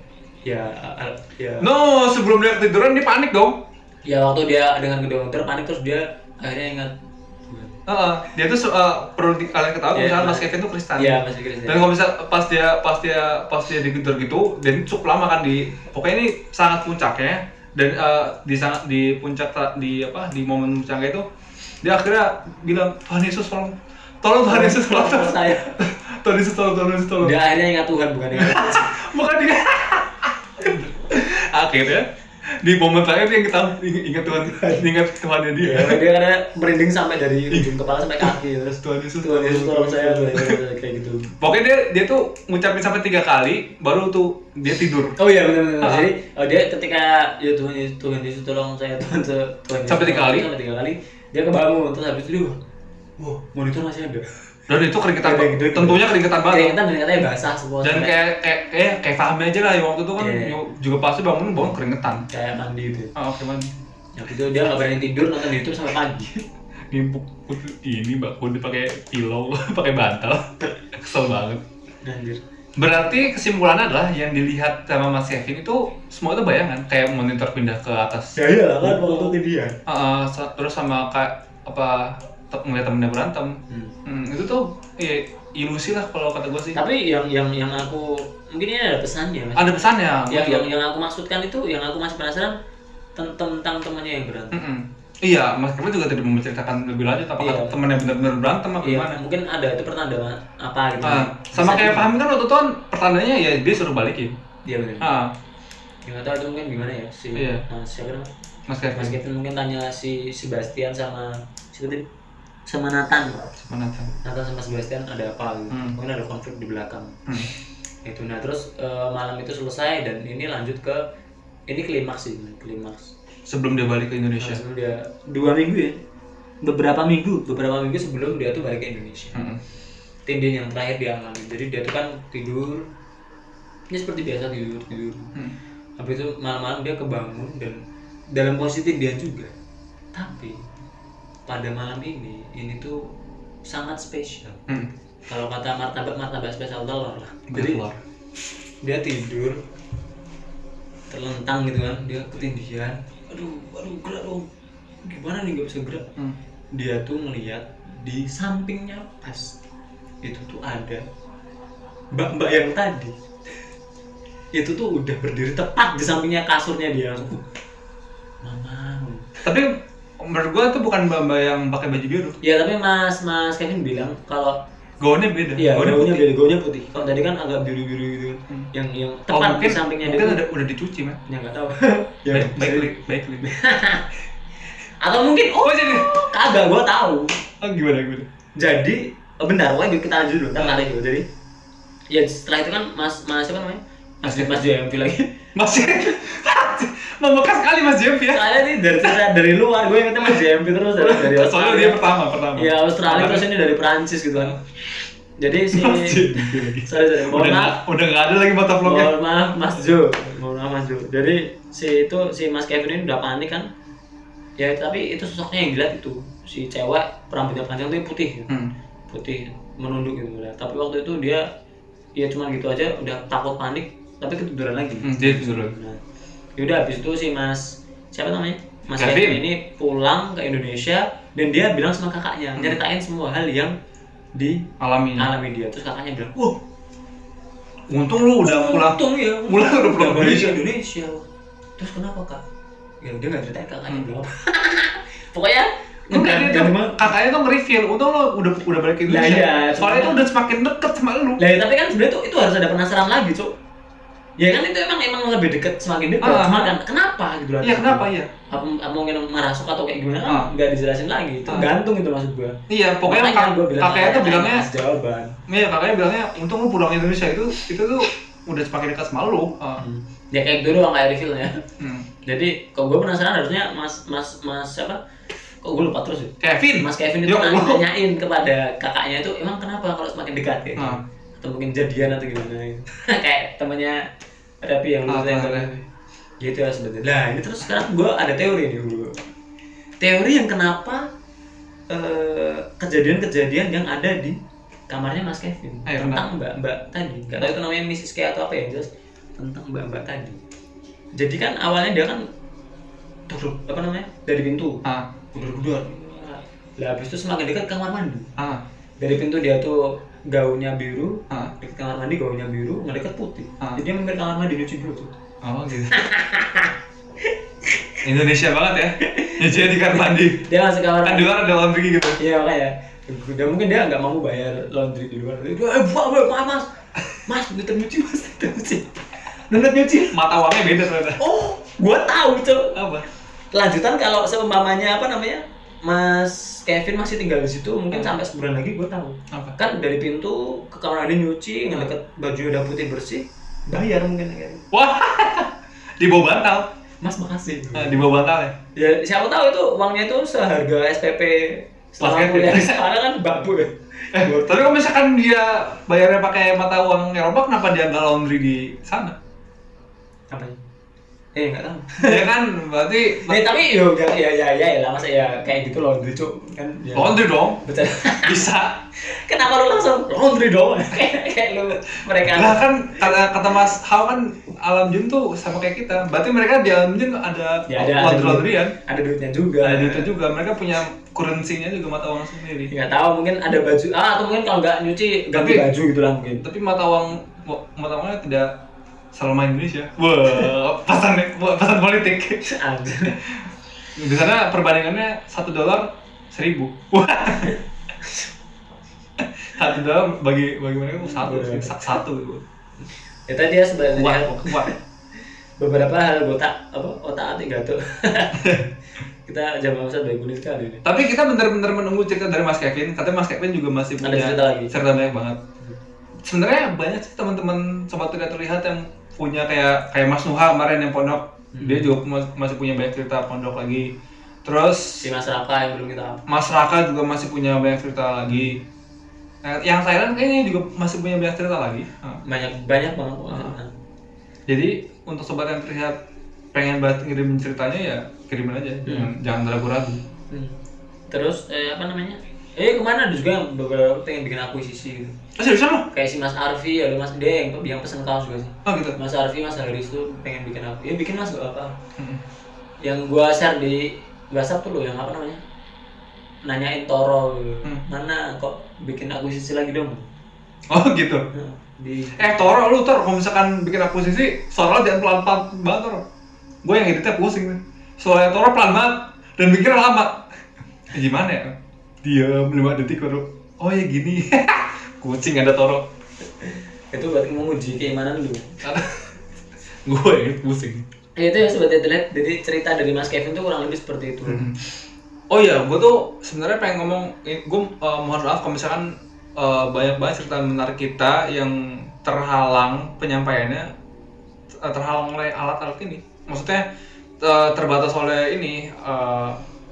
A: ya al- ya
C: No, sebelum dia ketiduran dia panik dong.
A: ya waktu dia dengan gedung motor panik terus dia akhirnya ingat
C: Heeh, dia tuh so- eh, perlu di, kalian
A: Iya,
C: ketahui misalnya
A: iya.
C: Mas Kevin tuh Kristen.
A: ya masih kira
C: Dan kalau misal pas dia pas dia pas dia digedor gitu, dan cukup lama kan di pokoknya ini sangat puncaknya dan eh, di sangat di puncak ta- di apa di momen puncaknya itu dia akhirnya bilang Tuhan Yesus tolong tolong Tuhan Yesus tolong
A: Tolong saya
C: Tuhan Yesus tolong Tuhan Yesus tolong
A: dia akhirnya ingat Tuhan bukan ingat
C: bukan dia akhirnya di momen terakhir dia kita ingat Tuhan ingat Tuhannya
A: Ya,
C: dia
A: dia karena merinding sampai dari ujung kepala sampai kaki terus
C: Iya, Tuhan Yesus
A: Tuhan Yesus tolong saya Tuhan Yesus," kayak gitu
C: pokoknya dia dia tuh ngucapin sampai tiga kali baru tuh dia tidur
A: oh iya benar benar
C: Ah.
A: jadi oh, dia ketika ya Tuhan Yesus Tuhan Yesus tolong saya Tuhan Yesus- Tuhan Yesus
C: Sampai tiga
A: tolong
C: kali?
A: saya," sampai tiga kali dia kebangun terus habis itu dia wah monitor masih ada
C: Dan itu
A: Gede,
C: keringetan banget.
A: gede, gede.
C: Tentunya keringetan banget.
A: keringetan dan katanya basah semua
C: Dan
A: sampai-
C: kayak kayak kayak, kayak Fahmi aja lah waktu itu kan
A: Iya.
C: juga pasti bangun bangun keringetan.
A: kayak mandi gitu
C: Ah, oke man.
A: Habis itu dia nggak berani tidur nonton YouTube sampai pagi.
C: Nimpuk ini mbak Kun pakai pillow, pakai bantal. Kesel banget.
A: Anjir.
C: Berarti kesimpulannya adalah yang dilihat sama Mas Kevin itu semua itu bayangan kayak monitor pindah ke atas.
A: Ya iyalah kan waktu tidian.
C: Ah, ah, sa- terus sama kayak apa te- ngeliat temennya berantem.
A: Hmm.
C: Hmm, itu tuh ya, ilusi lah kalau kata gue sih.
A: Tapi yang yang yang aku mungkin ini ada pesannya mas.
C: Ada pesannya. gua
A: yang,
C: juga-
A: yang yang aku maksudkan itu yang aku masih penasaran ten- tentang temannya yang berantem.
C: Mm-mm. Iya, Mas Kevin juga tidak menceritakan lebih lanjut apakah
A: Iya.
C: temannya benar-benar berantem apa
A: Iya,
C: gimana.
A: mungkin ada itu pertanda apa gitu.
C: Ah, sama
A: Bisa
C: kayak
A: juga.
C: paham kan waktu itu kan pertandanya ya dia suruh balikin.
A: Iya benar.
C: Ah,
A: Yang nggak tahu itu mungkin gimana ya si
C: Iya.
A: nah, siapa namanya?
C: Mas Kevin.
A: Mas Kevin mungkin tanya si Sebastian sama siapa tadi? Sama Nathan.
C: Mana tuh?
A: Nathan sama Sebastian ada apa? Gitu.
C: Hmm.
A: Mungkin ada konflik di belakang.
C: Hmm.
A: itu nah terus eh, malam itu selesai dan ini lanjut ke ini klimaks Nah, sih klimaks
C: Sebelum dia balik ke Indonesia.
A: langsung dia dua minggu ya beberapa minggu beberapa minggu sebelum dia tuh balik ke Indonesia
C: Mm-mm.
A: Tindian Hmm. yang terakhir dia alami jadi dia tuh kan tidur ini seperti biasa tidur tidur
C: Hmm.
A: habis itu malam-malam dia kebangun dan dalam posisi dia juga tapi pada malam ini ini tuh sangat spesial
C: Hmm.
A: kalau kata martabak martabak spesial telur lah
C: Jadi
A: jadi dia tidur terlentang gitu kan dia ketindihan aduh aduh gerak dong gimana nih gak bisa gerak
C: Hmm.
A: dia tuh melihat di sampingnya pas itu tuh ada mbak-mbak yang tadi itu tuh udah berdiri tepat di sampingnya kasurnya dia langsung mama
C: Tapi menurut gua tuh bukan mbak-mbak yang pakai baju biru.
A: ya tapi mas mas Kevin bilang kalau
C: Gaunnya beda.
A: iya
C: Gaunnya
A: gaunnya
C: putih.
A: beda gaunnya putih kalau tadi kan agak biru biru gitu
C: Hmm.
A: yang yang
C: Oh,
A: tepat
C: mungkin,
A: di sampingnya
C: mungkin
A: dia tuh.
C: udah, udah dicuci, men.
A: ya nggak tahu
C: Ya,
A: Ya,
C: baik,
A: jadi-
C: baik, baik, baik.
A: atau mungkin oh
C: Oh, jadi
A: kagak gua tahu
C: oh, gimana gimana?
A: jadi oh, bentar lanjut kita lanjut dulu ntar tarik dulu jadi ya setelah itu kan mas mas siapa namanya mas mas JMP lagi
C: Masih membekas sekali Mas Jeff ya.
A: soalnya ini dari cerita dari luar gue ingetnya mas JMP terus dari, dari
C: Soalnya dia pertama, pertama.
A: ya Iya, Australia terus ini dari Perancis gitu kan jadi si
C: Mas JMP lagi.
A: sorry sorry
C: Udah
A: mohon
C: nggak
A: maaf
C: udah nggak ada lagi mata vlognya.
A: mohon maaf Mas Jo mohon maaf Mas Jo jadi si itu si Mas Kevin ini udah panik kan ya tapi itu sosoknya yang dilihat itu si cewek rambutnya panjang tuh putih gitu.
C: Hmm.
A: putih menunduk gitu udah. tapi waktu itu dia ya cuman gitu aja udah takut panik tapi ketiduran lagi
C: Hmm, dia tidur lagi.
A: nah, yaudah habis itu si mas siapa namanya mas
C: Kevin.
A: Kevin ini pulang ke Indonesia dan dia bilang sama kakaknya
C: Hmm.
A: nyeritain semua hal yang di
C: Alami.
A: alami dia terus kakaknya bilang wah
C: Untung lu udah pulang.
A: untung ya
C: pulang udah pulang
A: balik
C: Indonesia.
A: ke Indonesia terus kenapa kak ya dia nggak ceritain kakaknya
C: Hmm.
A: bilang apa pokoknya
C: Enggak, dia
A: dan-
C: tuh,
A: dan-
C: kakaknya tuh nge-reveal, untung lo udah udah balik ke
A: Lah,
C: Indonesia.
A: iya,
C: Soalnya
A: cuman-
C: itu udah semakin deket sama lu.
A: Lah ya, tapi kan sebenarnya tuh itu harus ada penasaran lagi, Cuk. Ya kan itu emang emang lebih dekat semakin dekat.
C: Ah.
A: Cuma kan kenapa gitu lah.
C: Iya, kenapa ya?
A: Apa, apa mungkin merasuk atau kayak gimana kan
C: Ah.
A: nggak dijelasin lagi.
C: Ah.
A: Tergantung itu maksud gua.
C: Iya, pokoknya
A: Makanya
C: kak-
A: gua bilang,
C: kakaknya tuh
A: "Tanya-tanya
C: bilangnya,
A: atas jawaban.
C: iya kakaknya bilangnya, untung lu pulang ke Indonesia itu itu tuh udah semakin dekat sama lu. Ah.
A: Ya kayak gitu doang kayak reveal-nya.
C: Hmm.
A: Jadi kalau gua penasaran harusnya Mas Mas Mas siapa? Kok gua lupa terus ya?
C: Kevin,
A: Mas Kevin itu
C: Ya
A: nanya-
C: Allah.
A: nanyain kepada kakaknya itu emang kenapa kalau semakin dekat kayak gitu?
C: Ah.
A: Atau mungkin jadian atau gimana gitu. kayak temannya Rapi yang
C: Ah,
A: lu ceritain tadi.
C: Raffi.
A: gitu ya sebenarnya nah ini terus sekarang gue ada teori nih gue teori yang kenapa eh, kejadian-kejadian yang ada di kamarnya Mas Kevin
C: Ayo,
A: tentang mbak-mbak tadi nggak tahu itu namanya Mrs. K atau apa ya yang jelas tentang mbak-mbak tadi jadi kan awalnya dia kan duduk apa namanya dari pintu
C: Ah,
A: gudar-gudar lah habis itu semakin dekat kamar mandi
C: ah,
A: dari pintu dia tuh gaunnya biru
C: ah.
A: deket kamar mandi gaunnya biru ngedeket putih
C: Ah.
A: jadi dia mampir kamar mandi nyuci dulu tuh
C: Oh gitu. Indonesia banget ya. Nyuci di kamar mandi.
A: dia masuk kamar
C: Kan
A: mandi
C: di luar ada laundry gitu.
A: Iya makanya Dan mungkin dia nggak mau bayar laundry di luar Dia, eh buat buat mas mas Mas, bentar nyuci mas, bentar nyuci Bentar nyuci
C: Mata uangnya beda ternyata.
A: Oh, gua tahu cok
C: Apa?
A: Lanjutan kalau seumpamanya apa namanya Mas Kevin masih tinggal di situ mungkin
C: Hmm.
A: sampai sebulan lagi gua tahu
C: Apa? Hmm.
A: kan dari pintu ke kamar mandi nyuci ngeliat baju udah putih bersih bayar mungkin gitu. akhirnya.
C: Wah, di bawah bantal.
A: mas makasih
C: Ah, di bawah bantal ya.
A: Hmm. ya siapa tahu itu uangnya itu seharga SPP
C: Mas
A: selama
C: Kevin.
A: kuliah di sana kan babu ya
C: Eh, tapi kalau misalkan dia bayarnya pakai mata uang Eropa, kenapa dia nggak laundry di sana?
A: apa eh nggak tahu
C: ya kan, berarti
A: Nih tapi yo gak ya ya ya lah masa ya kayak gitu laundry cuk kan ya.
C: laundry dong.
A: Bercanda.
C: Bisa.
A: Kenapa lu langsung laundry dong? kayak kayak lu
C: Lah
A: mereka.
C: kan kata kata Mas Hao kan alam jin tuh sama kayak kita. Berarti mereka di alam jin ada
A: Ya, ada-
C: laundry
A: ada-
C: laundryan.
A: Ada duitnya juga.
C: Ada duitnya juga. Mereka punya currency-nya juga mata uang sendiri.
A: Nggak tahu mungkin ada baju ah atau mungkin kalau nggak nyuci ganti
C: Tapi-
A: baju gitu lah mungkin.
C: Tapi mata uang mata uangnya tidak selama Indonesia. Eh, Wah, pesan pesan politik.
A: Anjir.
C: Di sana perbandingannya satu dolar seribu. Wah. satu dolar bagi bagi mereka itu satu sih. Sa- satu.
A: ya tadi ya sebenarnya
C: Wah, wah.
A: beberapa hal botak apa otak atik gatel. Kita jam besar dari kulit kali ini.
C: Tapi kita benar-benar menunggu cerita dari Mas Kevin. Katanya Mas Kevin juga masih
A: Ada
C: punya
A: cerita lagi.
C: cerita banyak banget. Sebenarnya banyak sih teman-teman sobat tidak terlihat yang
A: Hmm.
C: punya kayak kayak Mas Nuha kemarin yang pondok. Dia juga pu- masih punya banyak cerita pondok lagi. Terus
A: si Mas Raka yang belum kita
C: Mas Raka juga masih punya banyak cerita lagi. Nah, Yang Thailand kayaknya juga masih punya banyak cerita lagi. Nah,
A: banyak banyak banget kok.
C: Ah. Jadi untuk sobat yang terlihat pengen banget ngirim ceritanya ya kirimin aja, jangan, jangan ragu-ragu.
A: Hmm. Terus eh, apa namanya? Eh kemana ada juga yang beberapa pengen bikin akuisisi gitu.
C: Oh seriusan lo?
A: Kayak si Mas Arfi ya, Mas dia yang, yang pesen kaos juga sih.
C: Oh gitu.
A: Mas Arfi, Mas Haris tuh pengen bikin aku. Ya bikin Mas gak apa.
C: Mm.
A: Yang gua share di WhatsApp tuh loh yang apa namanya? Nanyain Toro gitu.
C: Hmm.
A: Mana kok bikin akuisisi lagi dong?
C: Oh gitu.
A: Nah, Di
C: Eh Toro lu Toro kalau misalkan bikin akuisisi suara lu jangan pelan-pelan banget Toro Gue yang editnya pusing nih Suaranya Toro pelan banget dan mikirnya lama Eh, Gimana ya? Diam 5 detik baru Oh ya gini Kucing ada Toro
A: itu buat menguji keimanan lu.
C: Gue yang pusing
A: Ya, itu ya sobat internet. Jadi cerita dari Mas Kevin tuh kurang lebih seperti itu.
C: Oh iya, gue tuh sebenarnya pengen ngomong, gue mohon maaf kalau misalkan eh, banyak banget cerita menarik kita yang terhalang penyampaiannya, eh, terhalang oleh alat-alat ini. Maksudnya eh, terbatas oleh ini eh,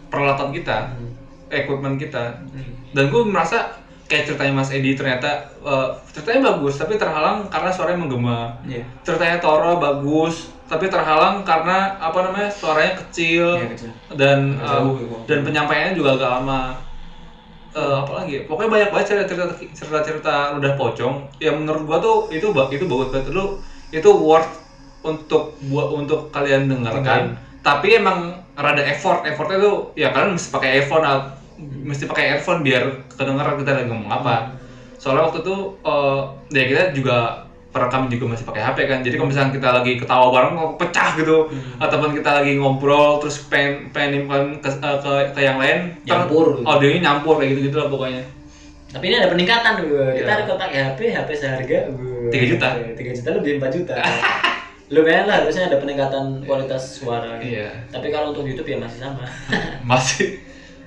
C: peralatan kita,
A: Hmm.
C: equipment kita.
A: Hmm.
C: Dan gue merasa kayak ceritanya Mas Edi ternyata eh, ceritanya bagus, tapi terhalang karena suaranya menggema.
A: Iya.
C: Ceritanya Toro bagus, tapi terhalang karena apa namanya suaranya kecil
A: Iya, kecil.
C: dan
D: Agak jauh,
C: uh,
D: ya, Bang.
C: dan penyampaiannya juga agak lama Eh, apa lagi ya? pokoknya banyak banget cerita cerita cerita cerita udah pocong yang menurut gua tuh itu ba- itu bagus banget lu itu worth untuk buat untuk kalian dengarkan tapi emang rada effort effortnya tuh ya kalian mesti pakai earphone al- mesti pakai earphone biar kedengeran kita lagi ngomong apa soalnya waktu itu eh, ya kita juga perekam juga masih pakai HP kan jadi kalau misalnya kita lagi ketawa bareng kok pecah gitu ataupun kita lagi ngobrol terus pengen pengen nimpan ke, eh, ke, ke yang lain ter-
A: Nyampur.
C: audionya nyampur kayak gitu gitu lah pokoknya
A: Tapi ini ada peningkatan gue. Kita
C: Iya.
A: ada kotak HP, HP seharga gue.
C: 3 juta.
A: 3 juta lebih 4 juta. Lumayan lah harusnya ada peningkatan kualitas suara. gitu.
C: Iya.
A: Tapi kalau untuk YouTube ya masih sama.
C: masih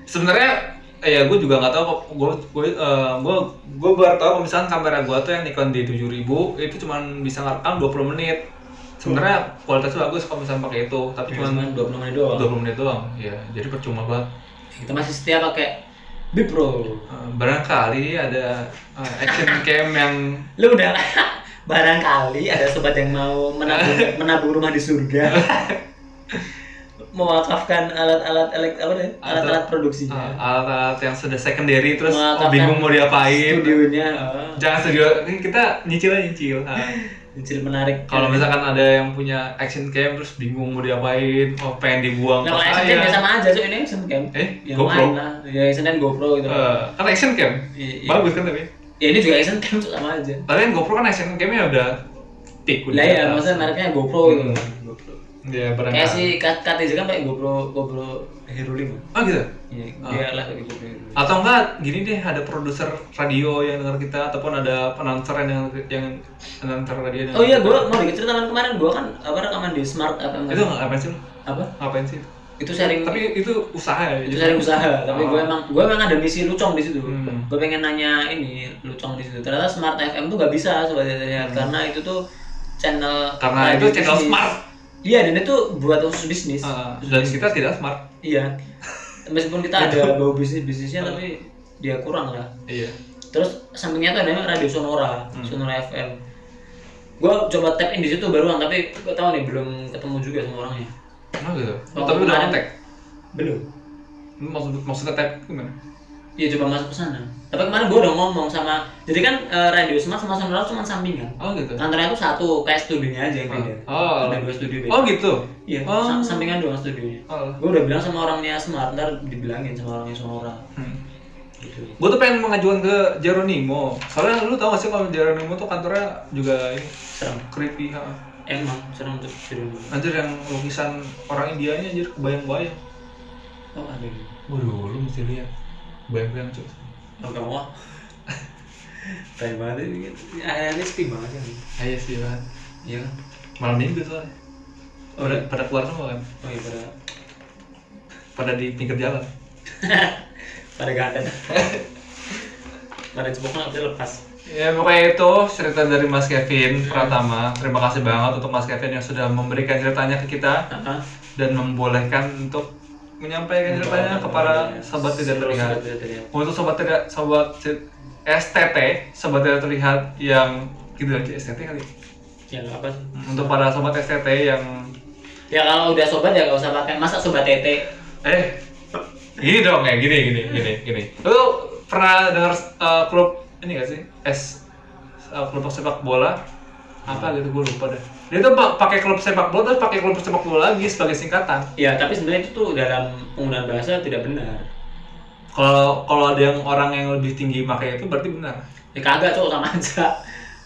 C: sebenarnya eh, ya gue juga nggak tahu kok gue gue eh, gue gue baru tahu kalau misalkan kamera gue tuh yang Nikon D7000 itu cuman bisa ngerekam 20 menit sebenarnya kualitasnya bagus kalau misalkan pakai itu tapi
A: Cuma
C: cuman
A: 20 menit doang.
C: 20 menit doang ya jadi percuma banget
A: Kita masih setia pakai Bipro.
C: Eh, barangkali ada eh, action cam yang
A: Lu udah barangkali ada sobat yang mau menabung, menabung rumah di surga. mewakafkan alat-alat elek apa deh? Alat-alat
C: eh,
A: produksinya.
C: alat-alat yang sudah secondary terus
A: Mengatakan
C: bingung mau diapain
A: Studionya.
C: jangan studio ini kita nyicil aja nyicil Ah.
A: Kecil menarik.
C: kalau misalkan ada yang punya action cam terus bingung mau diapain oh pengen dibuang
A: Nah, kalau
C: pas
A: action cam
C: saya.
A: ya sama aja, so ini action cam.
C: Eh,
A: yang
C: GoPro.
A: lain lah. Ya, action cam GoPro gitu.
C: Eh, kan action cam
A: I- i-
C: bagus kan tapi
A: Ya ini juga action cam so sama aja.
C: tapi kan GoPro kan action camnya udah tikun
A: Lah ya, maksudnya mereknya GoPro gitu.
C: Hmm. ya
A: Kayak
C: barangkali
A: si Kat Kat juga kan pakai GoPro GoPro Hero 5.
C: oh gitu
A: Iya,
C: Ah.
A: dia lah gitu. pakai GoPro Hero.
C: atau enggak gini deh ada produser radio yang dengar kita ataupun ada announcer yang denger- yang announcer radio yang
A: Oh iya,
C: denger
A: gua mau dikit cerita kan kemarin gua kan apa rekaman di Smart apa
C: kita. itu nggak apa sih lu?
A: apa?
C: ngapain sih itu?
A: Itu sharing
C: tapi itu usaha ya
A: itu cari usaha tapi
C: Oh.
A: gue emang gue emang ada misi lucong di situ
C: Hmm.
A: gue pengen nanya ini lucong di situ ternyata smart fm tuh gak bisa sobat lihat karena itu tuh Hmm. channel Ah.
C: Karena
A: radio
C: itu channel
A: bisnis.
C: smart.
A: iya dan itu buat khusus bisnis
C: Eh,
A: Khusus
C: dan
A: bisnis.
C: kita tidak smart
A: iya meskipun kita ada bau bisnis bisnisnya tapi dia kurang lah
C: iya
A: terus sampingnya tuh ada radio sonora
C: Hmm.
A: sonora fm gue coba tap in di situ baruan tapi gue tahu nih belum ketemu juga sama orangnya
C: Emang gitu?
A: Waktu
C: tapi udah
A: kemarin-
C: kontak?
A: belum
C: Maksud, maksudnya tag gimana?
A: Iya coba masuk ke sana. Tapi kemarin gue udah ngomong sama, jadi kan eh, radio smart sama sonora cuma sampingan.
C: Oh gitu?
A: Kantornya tuh satu, kayak studionya aja yang beda.
C: Oh.
A: Ada dua studio beda.
C: Oh gitu?
A: Iya,
C: Oh.
A: sa- sampingan doang studionya.
C: Oh.
A: Gue udah bilang sama orangnya smart, ntar dibilangin sama orangnya sonora. Gitu.
C: Gue Hmm. tuh pengen mengajukan ke Jeronimo Soalnya lu tau gak sih kalau Jeronimo tuh kantornya juga ini
A: Serem.
C: creepy ha.
A: Emang serem tuh studionya.
C: Anjir yang lukisan orang Indianya anjir kebayang-bayang
A: Oh ada.
C: Waduh lu mesti lihat Bayang-bayang cuy
A: Oh kamu wah. Tanya banget ini. Akhirnya sepi banget kan.
C: Iya sih banget
A: Iya kan.
C: Malam minggu soalnya
A: Oh,
C: pada, pada keluar semua kan?
A: Oh iya pada
C: Pada di pinggir jalan
A: pada gak ada. pada cepoknya udah lepas.
C: Ya pokoknya itu cerita dari Mas Kevin Pratama. Terima kasih banget untuk Mas Kevin yang sudah memberikan ceritanya ke kita
A: Apa?
C: dan membolehkan untuk menyampaikan ceritanya kepada sahabat tidak terlihat. Untuk sobat tidak sobat si- STT, sobat tidak terlihat yang gitu lagi STT kali. ya?
A: Ya nggak apa sih.
C: Untuk para sobat STT yang
A: Ya kalau udah sobat ya nggak usah pakai. Masa sobat tete?
C: eh gini dong ya gini gini gini gini. Lu pernah dengar eh, klub ini gak sih? S eh, kelompok sepak bola apa gitu gue lupa deh. Dia tuh pa- pakai klub sepak bola terus pakai klub sepak bola lagi sebagai singkatan.
A: Ya tapi sebenarnya itu tuh dalam penggunaan bahasa tidak benar.
C: Kalau kalau ada yang orang yang lebih tinggi pakai itu berarti benar.
A: Ya kagak cowok sama aja.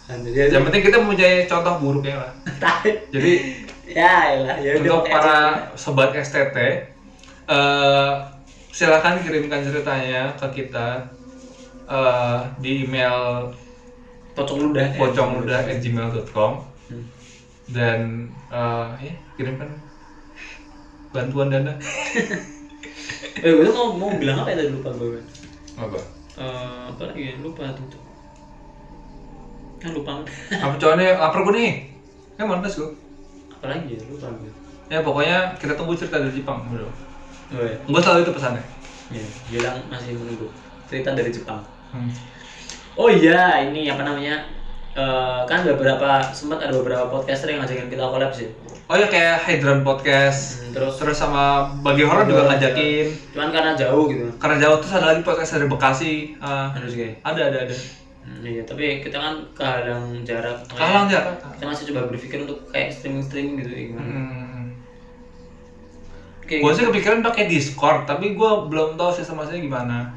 A: Nanti dia
C: Yang penting kita punya contoh buruknya lah.
A: tarik.
C: Jadi
A: Ya elah, ya udah pakai
C: untuk para
A: aja.
C: sobat STT eh silahkan kirimkan ceritanya ke kita eh, di email
A: pocong ludah. eh.
C: pocongludah@gmail.com
A: Hmm.
C: dan eh ya, kirimkan bantuan dana
A: Eh gue tuh mau mau bilang apa ya tadi lupa gue.
C: apa
A: Eh apa lagi ya? lupa tuh. tuh. Kan lupa
C: apa cowoknya lapar gue nih kan malas gue
A: apa lagi ya lupa gue.
C: ya pokoknya kita tunggu cerita dari Jepang bro
A: Oh ya.
C: gue selalu itu pesannya
A: Ya, bilang masih menunggu cerita dari Jepang.
C: Hmm.
A: Oh iya, ini apa namanya? Eh, kan beberapa sempat ada beberapa podcaster yang ngajakin kita collab sih.
C: oh ya kayak Hydran Podcast
A: Hmm, terus
C: terus sama bagi horror juga ngajakin
A: cuman karena jauh gitu.
C: karena jauh terus ada lagi podcast dari Bekasi eh,
A: Harus kayak.
C: ada ada ada
A: Hmm, iya, tapi kita kan kadang jarak.
C: kalang ya?
A: Kayak-
C: jarak
A: Kita masih coba berpikir untuk kayak streaming streaming gitu ya gimana.
C: hmm.
A: Kayak gitu.
C: gue sih kepikiran pakai Discord tapi gue belum tahu sistem aslinya gimana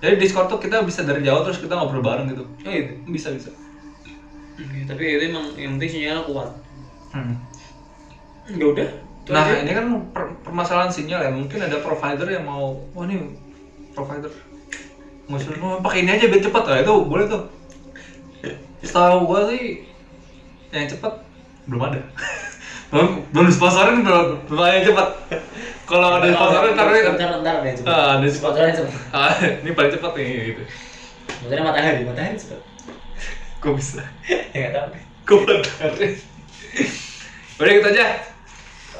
C: jadi Discord tuh kita bisa dari jauh terus kita ngobrol bareng gitu
A: gitu. Oh gitu.
C: bisa bisa
A: Oke,
C: Gitu.
A: tapi itu emang yang penting sinyalnya kuat.
C: Hmm.
A: Ya udah. itu
C: nah
A: aja.
C: ini kan per- permasalahan sinyal ya mungkin ada provider yang mau wah nih provider ngusul mau pakai ini aja biar cepet lah itu boleh tuh setahu gue sih yang cepet belum ada belum belum sponsorin belum belum ada yang cepet kalau ada sponsorin Nah, ntar nih,
A: ntar ntar deh. coba.
C: ah ada sponsor
A: Sponsornya cepat.
C: ah ini paling cepet nih gitu
A: Sponsornya matahari, matahari cepat.
C: gue bisa
A: Ya nggak tahu.
C: gue benerin udah gitu aja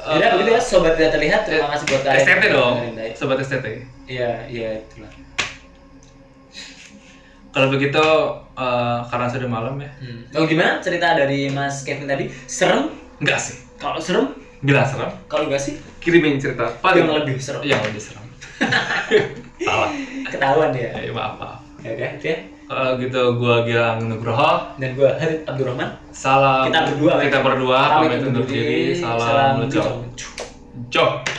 C: Eh,
A: Yaudah begitu ya sobat tidak terlihat terima kasih buat kalian.
C: STT Ah. Eh, dong
A: Iya,
C: sobat STT
A: Iya, iya itulah.
C: Kalau begitu eh, karena sudah malam ya.
A: Hmm. Oh gimana cerita dari Mas Kevin tadi? Serem?
C: Enggak sih.
A: Kalau serem?
C: Bila serem,
A: Kalau nggak sih?
C: kirimin cerita
A: Yang
C: paling
A: lebih serem.
C: yang lebih serem. Salah.
A: Ketahuan dia.
C: Ya, maaf, maaf.
A: Ya udah, itu ya.
C: Kalau gitu gua Gilang Nugroho.
A: Dan gua Harith Abdurrahman.
C: Salam
A: Kita berdua, ya.
C: Kita berdua pamit undur
A: undur
C: diri. Salam,
A: Salam
C: Salam
A: Lucong.
C: Jok.